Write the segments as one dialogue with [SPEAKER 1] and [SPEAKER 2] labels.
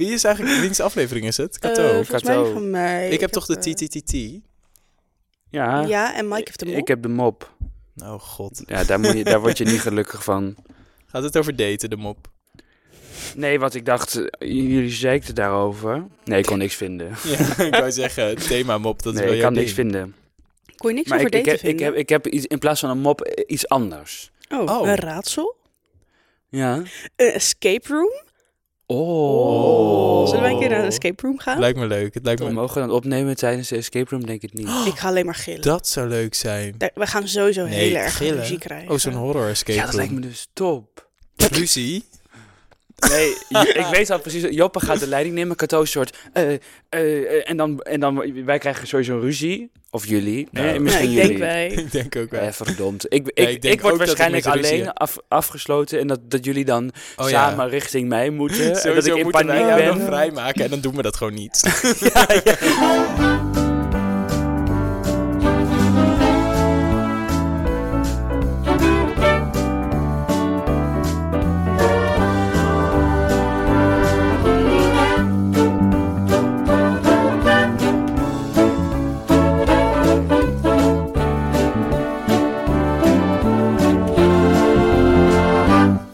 [SPEAKER 1] Wie is eigenlijk, wiens aflevering is het?
[SPEAKER 2] Eh,
[SPEAKER 1] Kato.
[SPEAKER 2] volgens
[SPEAKER 3] Kato.
[SPEAKER 2] mij van mij.
[SPEAKER 1] ik heb toch de
[SPEAKER 2] eh,
[SPEAKER 1] TTTT?
[SPEAKER 3] Ja,
[SPEAKER 2] Ja, en Mike heeft hem
[SPEAKER 3] ik
[SPEAKER 2] op.
[SPEAKER 3] heb de mop.
[SPEAKER 1] Oh god.
[SPEAKER 3] Ja, daar, moet je, daar word je niet gelukkig van.
[SPEAKER 1] Gaat het over daten, de mop?
[SPEAKER 3] Nee, wat ik dacht, eh, jullie zeikten daarover. Nee, ik kon niks vinden.
[SPEAKER 1] Ja, ik wou zeggen, het thema mop, dat wil
[SPEAKER 3] nee, ik
[SPEAKER 1] je
[SPEAKER 3] kan niks vinden.
[SPEAKER 2] Kon je niks
[SPEAKER 3] Maar
[SPEAKER 2] over
[SPEAKER 3] ik, ik,
[SPEAKER 2] daten
[SPEAKER 3] heb, ik,
[SPEAKER 2] vinden?
[SPEAKER 3] heb, ik heb iets, in plaats van een mop eh, iets anders.
[SPEAKER 2] oh,
[SPEAKER 1] Oh.
[SPEAKER 2] een raadsel?
[SPEAKER 3] Ja.
[SPEAKER 2] Een escape room?
[SPEAKER 3] Oh.
[SPEAKER 2] Oh. Zullen wij een keer naar een escape room gaan?
[SPEAKER 1] Lijkt me leuk. Het lijkt
[SPEAKER 3] We
[SPEAKER 1] me...
[SPEAKER 3] mogen dan opnemen tijdens de escape room, denk ik niet.
[SPEAKER 2] Ik ga alleen maar gillen.
[SPEAKER 1] Dat zou leuk zijn.
[SPEAKER 2] Daar- we gaan sowieso
[SPEAKER 1] Nee,
[SPEAKER 2] heel erg
[SPEAKER 1] gillen?
[SPEAKER 2] ruzie krijgen.
[SPEAKER 1] Oh, zo'n horror escape
[SPEAKER 3] ja, dat lijkt me dus top.
[SPEAKER 1] room. Ruzie?
[SPEAKER 3] Nee, J- ik weet al precies. Joppe gaat de leiding nemen, Kato een soort... eh, eh, eh, en, dan, en dan, wij krijgen sowieso een ruzie. Of jullie. Nou,
[SPEAKER 1] Ja.
[SPEAKER 3] Nee,
[SPEAKER 1] Ja,
[SPEAKER 2] Ja,
[SPEAKER 3] misschien
[SPEAKER 2] ik
[SPEAKER 3] jullie.
[SPEAKER 2] denk wij.
[SPEAKER 1] ik denk ook wel.
[SPEAKER 3] Eh, verdomd. Ik, ik,
[SPEAKER 1] Ja, ik
[SPEAKER 3] ik,
[SPEAKER 1] denk
[SPEAKER 3] word
[SPEAKER 1] ook dat ik
[SPEAKER 3] waarschijnlijk
[SPEAKER 1] met ruzie
[SPEAKER 3] alleen
[SPEAKER 1] heb.
[SPEAKER 3] af, afgesloten en dat, dat jullie dan
[SPEAKER 1] Oh ja.
[SPEAKER 3] samen richting mij moeten. en dat ik
[SPEAKER 1] Sowieso
[SPEAKER 3] in
[SPEAKER 1] moeten wij
[SPEAKER 3] paniek
[SPEAKER 1] jou dan
[SPEAKER 3] ben.
[SPEAKER 1] vrijmaken en dan doen we dat gewoon niet.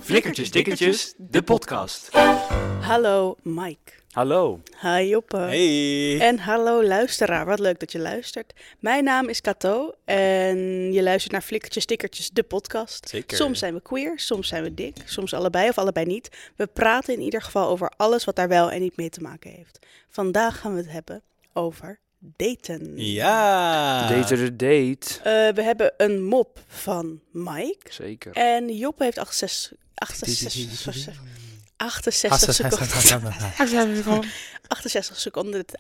[SPEAKER 4] Flikkertjes Dikkertjes, de podcast.
[SPEAKER 2] Hallo Mike.
[SPEAKER 3] Hallo.
[SPEAKER 2] Hi Joppe.
[SPEAKER 1] Hey.
[SPEAKER 2] En hallo luisteraar, wat leuk dat je luistert. Mijn naam is Kato en je luistert naar Flikkertjes, Stickertjes, de podcast.
[SPEAKER 1] Zeker.
[SPEAKER 2] Soms zijn we queer, soms zijn we dik, soms allebei of allebei niet. We praten in ieder geval over alles wat daar wel en niet mee te maken heeft. Vandaag gaan we het hebben over daten.
[SPEAKER 1] Ja.
[SPEAKER 3] Date de date.
[SPEAKER 2] Eh, we hebben een mop van Mike.
[SPEAKER 3] Zeker.
[SPEAKER 2] En Joppe heeft 68, 68, 68 seconden. 68 seconden.
[SPEAKER 1] ik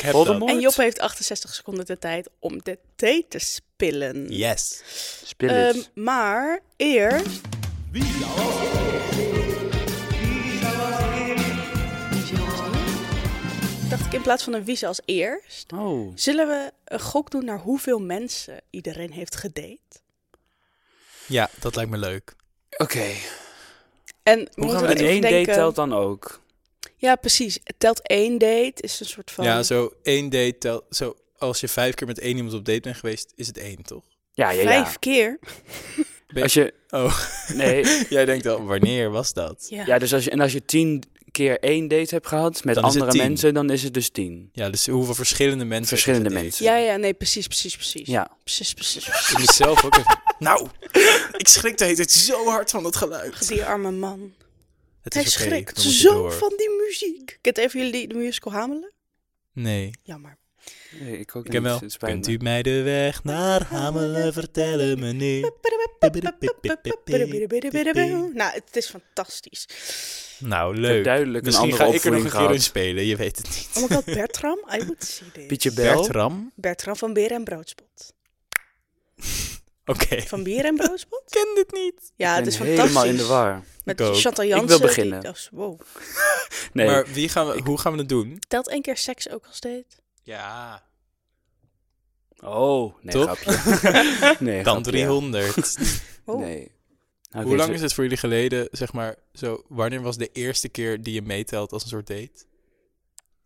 [SPEAKER 1] heb dat.
[SPEAKER 3] Voldemort?
[SPEAKER 2] En Joppe heeft 68 seconden de tijd om de thee te spillen.
[SPEAKER 1] Yes.
[SPEAKER 3] Spil
[SPEAKER 2] Ehm,
[SPEAKER 3] it.
[SPEAKER 2] maar eerst. Dacht ik in plaats van een wies als eerst.
[SPEAKER 3] Oh.
[SPEAKER 2] Zullen we een gok doen naar hoeveel mensen iedereen heeft gedate?
[SPEAKER 1] Ja, dat lijkt me leuk.
[SPEAKER 3] Oké.
[SPEAKER 2] En we
[SPEAKER 3] Hoe
[SPEAKER 2] moeten
[SPEAKER 3] gaan we
[SPEAKER 2] wel
[SPEAKER 3] dat
[SPEAKER 2] even
[SPEAKER 3] één
[SPEAKER 2] denken-
[SPEAKER 3] date telt dan ook?
[SPEAKER 2] Ja, precies. Het telt één date, is een soort van...
[SPEAKER 1] Ja, zo één date telt. Zo, als je vijf keer met één iemand op date bent geweest, is het één, toch?
[SPEAKER 3] Ja, ja, ja.
[SPEAKER 2] Vijf keer?
[SPEAKER 3] Als je...
[SPEAKER 1] Oh.
[SPEAKER 3] Nee.
[SPEAKER 1] Jij denkt al, wanneer was dat?
[SPEAKER 2] Ja.
[SPEAKER 3] Ja, dus als je, en als je tien keer één date hebt gehad met
[SPEAKER 1] Dan is het
[SPEAKER 3] andere
[SPEAKER 1] tien.
[SPEAKER 3] mensen, dan is het dus tien.
[SPEAKER 1] Ja, dus hoeveel verschillende mensen.
[SPEAKER 3] Verschillende
[SPEAKER 1] heb je
[SPEAKER 3] mensen.
[SPEAKER 1] gedate?
[SPEAKER 2] ja, ja, nee, precies, precies, precies.
[SPEAKER 3] Ja.
[SPEAKER 2] Precies, precies, precies.
[SPEAKER 1] Ik moet zelf ook even... Nou, ik schrik de hele tijd zo hard van dat geluid.
[SPEAKER 2] Die arme man.
[SPEAKER 1] Het
[SPEAKER 2] Hij
[SPEAKER 1] is oké,
[SPEAKER 2] schrikt
[SPEAKER 1] we moeten
[SPEAKER 2] zo
[SPEAKER 1] door.
[SPEAKER 2] van die muziek. Kent even jullie die- de musical Hamelen?
[SPEAKER 1] Nee,
[SPEAKER 2] Jammer.
[SPEAKER 3] Nee, ik ook
[SPEAKER 1] ik heb
[SPEAKER 3] niet.
[SPEAKER 1] wel.
[SPEAKER 3] Het spijt
[SPEAKER 1] Kunt
[SPEAKER 3] me.
[SPEAKER 1] u mij de weg naar Hamelen vertellen, meneer?
[SPEAKER 2] Nou, het is fantastisch.
[SPEAKER 1] Nou,
[SPEAKER 3] Ik heb
[SPEAKER 1] leuk.
[SPEAKER 3] duidelijk een
[SPEAKER 1] Misschien
[SPEAKER 3] andere
[SPEAKER 1] ga ik er nog
[SPEAKER 3] opvoeding
[SPEAKER 1] een
[SPEAKER 3] gehad.
[SPEAKER 1] keer in spelen, je weet het niet.
[SPEAKER 2] Oh my god, Bertram, I would see this.
[SPEAKER 3] Pietje Bel.
[SPEAKER 1] Bertram?
[SPEAKER 2] Bertram van Beren en Broodspot.
[SPEAKER 1] Oké.
[SPEAKER 2] Van Beren en Broodspot?
[SPEAKER 1] Ik ken dit niet.
[SPEAKER 2] Ja,
[SPEAKER 3] Ik
[SPEAKER 2] Ah, het
[SPEAKER 3] ben
[SPEAKER 2] is fantastisch.
[SPEAKER 3] helemaal in de war.
[SPEAKER 2] Met
[SPEAKER 1] Ik ook.
[SPEAKER 2] Chantal
[SPEAKER 3] wil
[SPEAKER 2] Jansen. die-
[SPEAKER 3] beginnen.
[SPEAKER 2] dat is- wow.
[SPEAKER 3] Nee.
[SPEAKER 1] Maar wie gaan we, hoe gaan we het doen?
[SPEAKER 2] Telt één keer seks ook als date?
[SPEAKER 1] Ja,
[SPEAKER 3] Oh, nee,
[SPEAKER 1] Toch?
[SPEAKER 3] grapje. nee,
[SPEAKER 1] dan
[SPEAKER 3] grapje, ja.
[SPEAKER 1] 300.
[SPEAKER 2] Oh.
[SPEAKER 3] Nee. Nou,
[SPEAKER 1] Hoe
[SPEAKER 3] oké,
[SPEAKER 1] lang
[SPEAKER 3] zo-
[SPEAKER 1] is het voor jullie geleden, zeg maar, zo, wanneer was de eerste keer die je meetelt als een soort date?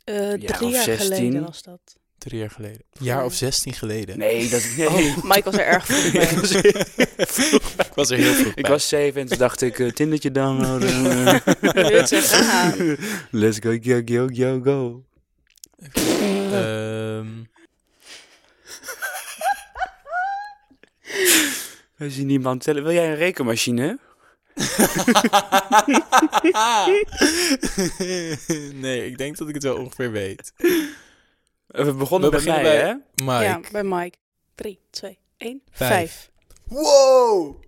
[SPEAKER 2] Eh,
[SPEAKER 3] Ja,
[SPEAKER 2] drie
[SPEAKER 3] of
[SPEAKER 2] jaar
[SPEAKER 3] 16.
[SPEAKER 2] geleden was dat.
[SPEAKER 1] Drie jaar geleden. Een jaar of zestien geleden.
[SPEAKER 3] Nee, dat nee.
[SPEAKER 1] Oh.
[SPEAKER 2] Mike was er erg vroeg bij.
[SPEAKER 1] Ik was er heel vroeg
[SPEAKER 3] ik
[SPEAKER 1] bij.
[SPEAKER 3] was zeven en toen dacht ik, eh, Tindertje downloaden.
[SPEAKER 2] Wil je het zeggen? Ah,
[SPEAKER 3] Let's go, go, go, go, go.
[SPEAKER 1] Ehm,
[SPEAKER 3] We zien niemand tellen. Wil jij een rekenmachine?
[SPEAKER 1] nee, ik denk dat ik het wel ongeveer weet.
[SPEAKER 3] Eh, We begonnen
[SPEAKER 1] We
[SPEAKER 3] bij mij,
[SPEAKER 1] beginnen bij-
[SPEAKER 3] hè?
[SPEAKER 1] Mike.
[SPEAKER 2] Ja, bij Mike. Drie, twee, één,
[SPEAKER 1] Vijf.
[SPEAKER 2] vijf.
[SPEAKER 1] Wow!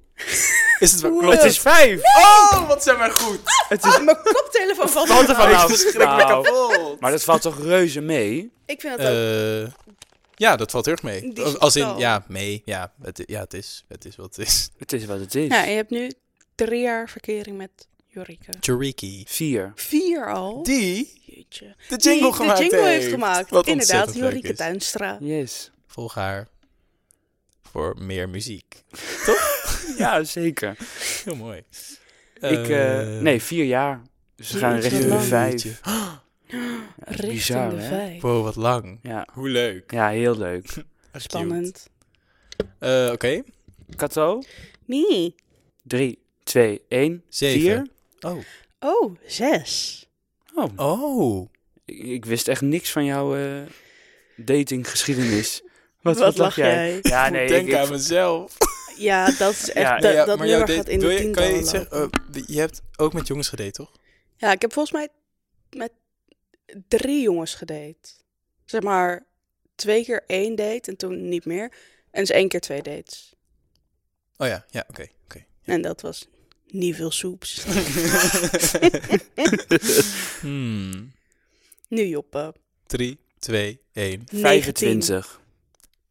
[SPEAKER 1] Is het wel
[SPEAKER 2] Wow.
[SPEAKER 1] klopt
[SPEAKER 3] Het is vijf!
[SPEAKER 1] Oh, wat zijn wij goed!
[SPEAKER 3] Het is
[SPEAKER 2] Mijn koptelefoon valt
[SPEAKER 3] valt er
[SPEAKER 2] ervan af.
[SPEAKER 3] vanaf. Nou,
[SPEAKER 1] kapot!
[SPEAKER 3] Maar dat valt toch reuze mee?
[SPEAKER 2] Ik vind dat ook.
[SPEAKER 1] Eh, ja, dat valt heel erg mee.
[SPEAKER 2] Die
[SPEAKER 1] Als in,
[SPEAKER 2] getal.
[SPEAKER 1] ja, mee. Ja, het, ja, het is. Het is wat het is.
[SPEAKER 3] Het is wat het is.
[SPEAKER 2] Ja, en je hebt nu drie jaar verkering met Jorike.
[SPEAKER 1] Jariki.
[SPEAKER 3] Vier.
[SPEAKER 2] Vier
[SPEAKER 3] Oh.
[SPEAKER 2] al.
[SPEAKER 1] Die
[SPEAKER 2] Jeetje.
[SPEAKER 1] de jingle
[SPEAKER 2] Die
[SPEAKER 1] gemaakt
[SPEAKER 2] de jingle heeft,
[SPEAKER 1] heeft.
[SPEAKER 2] gemaakt.
[SPEAKER 1] Wat
[SPEAKER 2] Inderdaad,
[SPEAKER 1] ontzettend leuk
[SPEAKER 2] Jorike
[SPEAKER 1] is.
[SPEAKER 2] Tuinstra.
[SPEAKER 3] Yes.
[SPEAKER 1] Volg haar voor meer muziek.
[SPEAKER 3] Ja, zeker.
[SPEAKER 1] Heel mooi.
[SPEAKER 3] Ik, eh,
[SPEAKER 1] Eh,
[SPEAKER 3] nee, vier jaar. Dus ze gaan
[SPEAKER 2] Jeetje,
[SPEAKER 3] richting de
[SPEAKER 2] lang.
[SPEAKER 3] vijf.
[SPEAKER 1] Jeetje.
[SPEAKER 3] Ja, dat is
[SPEAKER 2] Richting
[SPEAKER 3] bizar,
[SPEAKER 2] de
[SPEAKER 3] hè?
[SPEAKER 2] vijf.
[SPEAKER 1] Oh, Wow, wat lang.
[SPEAKER 3] Ja.
[SPEAKER 1] Hoe leuk.
[SPEAKER 3] ja, heel leuk.
[SPEAKER 1] Echt cute.
[SPEAKER 2] Spannend.
[SPEAKER 1] Eh, Oké,
[SPEAKER 3] Kato,
[SPEAKER 2] Nee.
[SPEAKER 3] drie, twee, één,
[SPEAKER 1] Zeven.
[SPEAKER 3] vier.
[SPEAKER 1] Oh.
[SPEAKER 2] Oh, zes.
[SPEAKER 3] Oh,
[SPEAKER 1] Oh.
[SPEAKER 3] ik, ik wist echt niks van jouw eh, datinggeschiedenis.
[SPEAKER 2] Wat, lach jij?
[SPEAKER 3] Ja,
[SPEAKER 1] ik
[SPEAKER 3] nee,
[SPEAKER 1] moet
[SPEAKER 3] ik,
[SPEAKER 1] denken
[SPEAKER 3] ik-
[SPEAKER 1] aan mezelf.
[SPEAKER 2] Ja, dat is echt...
[SPEAKER 3] Ja,
[SPEAKER 2] dat
[SPEAKER 1] Ja,
[SPEAKER 2] dat
[SPEAKER 1] maar jouw
[SPEAKER 2] nummer
[SPEAKER 1] date-
[SPEAKER 2] gaat in
[SPEAKER 1] doe
[SPEAKER 2] de
[SPEAKER 1] je- Kan je
[SPEAKER 2] tientallen
[SPEAKER 1] iets zeggen?
[SPEAKER 2] lopen.
[SPEAKER 1] Eh, je hebt ook met jongens gedate, toch?
[SPEAKER 2] Ja, ik heb volgens mij met drie jongens gedate. Zeg maar twee keer één date en toen niet meer. En dus één keer twee dates.
[SPEAKER 1] Oh ja, ja, oké. oké.
[SPEAKER 2] En dat was niet veel soeps.
[SPEAKER 1] Hmm.
[SPEAKER 2] nu Joppe.
[SPEAKER 1] 3, 2, 1.
[SPEAKER 3] 25.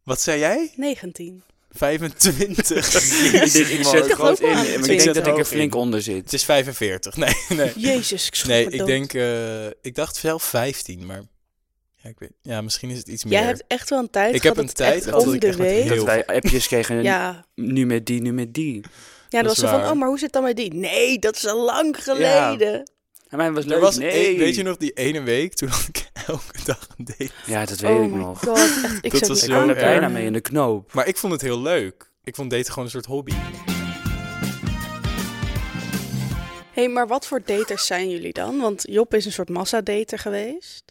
[SPEAKER 1] Wat zei jij?
[SPEAKER 2] 19.
[SPEAKER 1] 25.
[SPEAKER 3] Ik, ik zet
[SPEAKER 2] Ik
[SPEAKER 3] groot
[SPEAKER 2] dacht ook
[SPEAKER 3] in.
[SPEAKER 2] aan
[SPEAKER 3] maar Ik
[SPEAKER 2] 20.
[SPEAKER 3] denk dat ik
[SPEAKER 1] Hoog
[SPEAKER 3] er
[SPEAKER 1] in.
[SPEAKER 3] flink onder
[SPEAKER 1] Het
[SPEAKER 3] zit.
[SPEAKER 1] is 45. Nee, nee.
[SPEAKER 2] Jezus, ik schrok
[SPEAKER 1] Nee,
[SPEAKER 2] me
[SPEAKER 1] ik
[SPEAKER 2] dood.
[SPEAKER 1] denk, eh, ik dacht zelf 15, maar ja, ik weet, ja, misschien is het iets meer.
[SPEAKER 2] Jij hebt echt wel een tijd
[SPEAKER 1] Ik heb
[SPEAKER 2] gehad
[SPEAKER 1] een
[SPEAKER 2] dat het
[SPEAKER 1] tijd
[SPEAKER 2] echt
[SPEAKER 1] gehad
[SPEAKER 2] om
[SPEAKER 1] dat ik
[SPEAKER 2] de
[SPEAKER 1] echt met
[SPEAKER 2] week...
[SPEAKER 1] heel-
[SPEAKER 3] Dat wij appjes kregen.
[SPEAKER 2] Ja,
[SPEAKER 3] Nu met die, nu met die.
[SPEAKER 2] ja dat
[SPEAKER 1] Dat
[SPEAKER 2] was
[SPEAKER 1] is
[SPEAKER 2] zo van,
[SPEAKER 1] waar.
[SPEAKER 2] oh, maar hoe zit dan met die? Nee, dat is al lang geleden.
[SPEAKER 3] En mij was
[SPEAKER 1] Er
[SPEAKER 3] leuk.
[SPEAKER 1] was
[SPEAKER 3] nee.
[SPEAKER 1] één- weet je nog die ene week toen had ik elke dag een date?
[SPEAKER 3] Ja, dat weet
[SPEAKER 2] Oh
[SPEAKER 3] ik
[SPEAKER 2] my
[SPEAKER 3] nog.
[SPEAKER 2] god, echt, ik
[SPEAKER 1] Dat
[SPEAKER 2] zat
[SPEAKER 1] was
[SPEAKER 2] niet
[SPEAKER 1] zo
[SPEAKER 3] Ik
[SPEAKER 2] aan
[SPEAKER 3] kwam er
[SPEAKER 2] te
[SPEAKER 1] erg.
[SPEAKER 3] bijna
[SPEAKER 2] komen.
[SPEAKER 3] mee in de knoop.
[SPEAKER 1] Maar ik vond het heel leuk. Ik vond daten gewoon een soort hobby.
[SPEAKER 2] Hé, hey, maar wat voor daters zijn jullie dan? Want Job is een soort massadater geweest.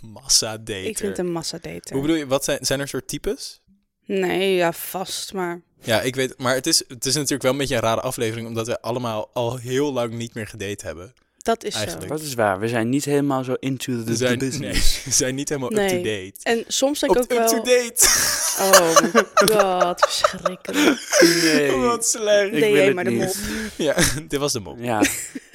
[SPEAKER 1] Massa dater.
[SPEAKER 2] Ik vind het een massadater.
[SPEAKER 1] Hoe bedoel je, wat zijn, zijn er soort types?
[SPEAKER 2] Nee, ja, vast, maar...
[SPEAKER 1] Ja, ik weet, maar het is, het is natuurlijk wel een beetje een rare aflevering, omdat we allemaal al heel lang niet meer gedate hebben.
[SPEAKER 2] Dat is
[SPEAKER 1] Eigenlijk.
[SPEAKER 3] Dat is waar. We zijn niet helemaal zo into the,
[SPEAKER 1] We zijn, nee,
[SPEAKER 3] business.
[SPEAKER 1] we zijn niet helemaal
[SPEAKER 2] Nee.
[SPEAKER 1] up-to-date.
[SPEAKER 2] zo. En soms denk ik ook wel...
[SPEAKER 1] Up-to-date!
[SPEAKER 2] Oh my god, verschrikkelijk.
[SPEAKER 3] Nee.
[SPEAKER 1] Wat slecht.
[SPEAKER 3] Ik wil
[SPEAKER 2] Nee,
[SPEAKER 3] het
[SPEAKER 2] maar de
[SPEAKER 3] niet.
[SPEAKER 2] mop.
[SPEAKER 1] Ja, dit was de mop.
[SPEAKER 3] Ja,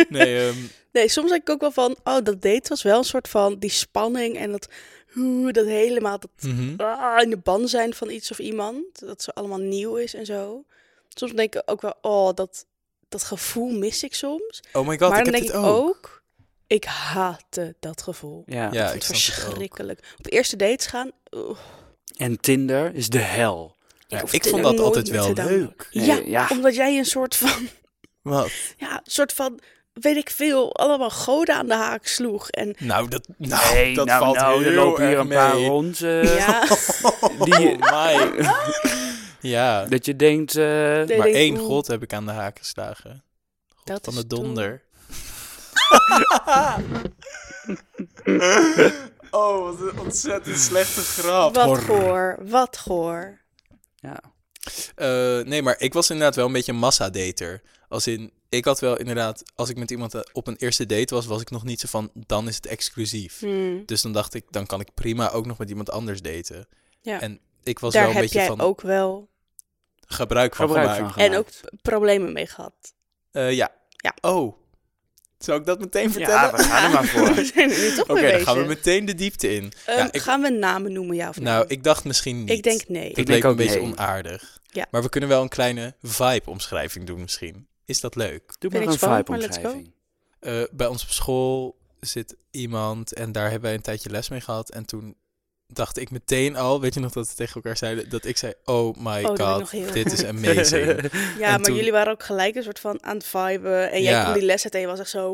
[SPEAKER 1] Nee, ehm,
[SPEAKER 2] Nee, soms denk ik ook wel van... Oh, dat date was wel een soort van die spanning en dat... Hoe, dat helemaal... Dat,
[SPEAKER 1] mhm.
[SPEAKER 2] ah, in de ban zijn van iets of iemand. Dat ze allemaal nieuw is en zo. Soms denk ik ook wel... Oh, dat, dat gevoel mis ik soms.
[SPEAKER 1] Oh my god, ik
[SPEAKER 2] maar dan
[SPEAKER 1] heb
[SPEAKER 2] denk
[SPEAKER 1] dit
[SPEAKER 2] ik
[SPEAKER 1] ook.
[SPEAKER 2] ook... Ik haatte dat gevoel.
[SPEAKER 3] ja.
[SPEAKER 1] Ja,
[SPEAKER 2] Ik
[SPEAKER 1] ik snap
[SPEAKER 2] vond het
[SPEAKER 1] het ook. Ah.
[SPEAKER 2] verschrikkelijk. Op eerste dates gaan. oeh,
[SPEAKER 3] En Tinder is de hel.
[SPEAKER 1] Ja,
[SPEAKER 2] hoef
[SPEAKER 1] ik
[SPEAKER 2] dit
[SPEAKER 1] vond
[SPEAKER 2] ook
[SPEAKER 1] dat
[SPEAKER 2] nooit
[SPEAKER 1] altijd
[SPEAKER 2] meer
[SPEAKER 1] wel
[SPEAKER 2] te downloaden.
[SPEAKER 1] leuk.
[SPEAKER 3] Nee,
[SPEAKER 2] ja,
[SPEAKER 3] ja.
[SPEAKER 2] omdat jij een soort van,
[SPEAKER 1] Wat?
[SPEAKER 2] ja, een soort van, weet ik veel, allemaal goden aan de haak sloeg. En
[SPEAKER 1] Nou, dat, nou,
[SPEAKER 3] Nee,
[SPEAKER 1] dat
[SPEAKER 3] nou,
[SPEAKER 1] valt
[SPEAKER 3] nou, er
[SPEAKER 1] heel
[SPEAKER 3] lopen hier
[SPEAKER 1] erg
[SPEAKER 3] een paar
[SPEAKER 1] mee.
[SPEAKER 3] rond. eh,
[SPEAKER 2] ja,
[SPEAKER 3] die,
[SPEAKER 1] Oh my. ja,
[SPEAKER 3] dat je denkt, eh,
[SPEAKER 2] Nee.
[SPEAKER 1] maar
[SPEAKER 2] denk,
[SPEAKER 1] één
[SPEAKER 2] oeh.
[SPEAKER 1] god heb ik aan de haak geslagen. God
[SPEAKER 2] Dat
[SPEAKER 1] van
[SPEAKER 2] is
[SPEAKER 1] de donder. oh, wat een ontzettend slechte grap.
[SPEAKER 2] wat goor, wat goor.
[SPEAKER 3] ja.
[SPEAKER 1] Eh, nee, maar ik was inderdaad wel een beetje een massadater. Als in, ik had wel inderdaad, als ik met iemand eh, op een eerste date was, was ik nog niet zo van, dan is het exclusief.
[SPEAKER 2] Hmm,
[SPEAKER 1] Dus dan dacht ik, dan kan ik prima ook nog met iemand anders daten.
[SPEAKER 2] Ja.
[SPEAKER 1] En ik was
[SPEAKER 2] Daar
[SPEAKER 1] wel een
[SPEAKER 2] heb
[SPEAKER 1] beetje
[SPEAKER 2] jij
[SPEAKER 1] van
[SPEAKER 2] ook wel
[SPEAKER 1] gebruik van
[SPEAKER 3] gebruik
[SPEAKER 1] gemaakt.
[SPEAKER 3] van gemaakt.
[SPEAKER 2] En ook- problemen mee gehad.
[SPEAKER 1] Eh, ja.
[SPEAKER 2] Ja.
[SPEAKER 1] Oh. Zou ik dat meteen vertellen?
[SPEAKER 3] Ja, we gaan er maar
[SPEAKER 2] We
[SPEAKER 3] voor.
[SPEAKER 2] zijn er nu toch
[SPEAKER 1] Oké,
[SPEAKER 2] mee
[SPEAKER 1] dan
[SPEAKER 2] bezig.
[SPEAKER 1] gaan we meteen de diepte in.
[SPEAKER 2] Ehm,
[SPEAKER 1] Ja, ik-
[SPEAKER 2] Gaan we namen noemen, ja of nee?
[SPEAKER 1] Nou, ik dacht misschien niet.
[SPEAKER 2] Ik denk nee.
[SPEAKER 1] Dat
[SPEAKER 3] Ik denk
[SPEAKER 1] leek
[SPEAKER 3] ook
[SPEAKER 1] een beetje
[SPEAKER 3] nee.
[SPEAKER 1] onaardig.
[SPEAKER 2] Ja.
[SPEAKER 1] Maar we kunnen wel een kleine vibe-omschrijving doen misschien. Is dat leuk?
[SPEAKER 3] Doe
[SPEAKER 2] Ben
[SPEAKER 3] maar
[SPEAKER 2] ik
[SPEAKER 3] een
[SPEAKER 2] spannend, maar let's
[SPEAKER 3] vibe-omschrijving.
[SPEAKER 1] Eh, bij ons op school zit iemand en daar hebben wij een tijdje les mee gehad. En toen dacht ik meteen al, weet je nog dat we tegen elkaar zeiden, dat ik zei, oh my
[SPEAKER 2] dat weet ik nog
[SPEAKER 1] god,
[SPEAKER 2] heel
[SPEAKER 1] dit
[SPEAKER 2] goed.
[SPEAKER 1] is amazing.
[SPEAKER 2] ja,
[SPEAKER 1] en
[SPEAKER 2] maar
[SPEAKER 1] toen-
[SPEAKER 2] jullie waren ook gelijk een soort van aan het viben. En jij
[SPEAKER 1] Ja.
[SPEAKER 2] kwam die les uit en je was echt zo,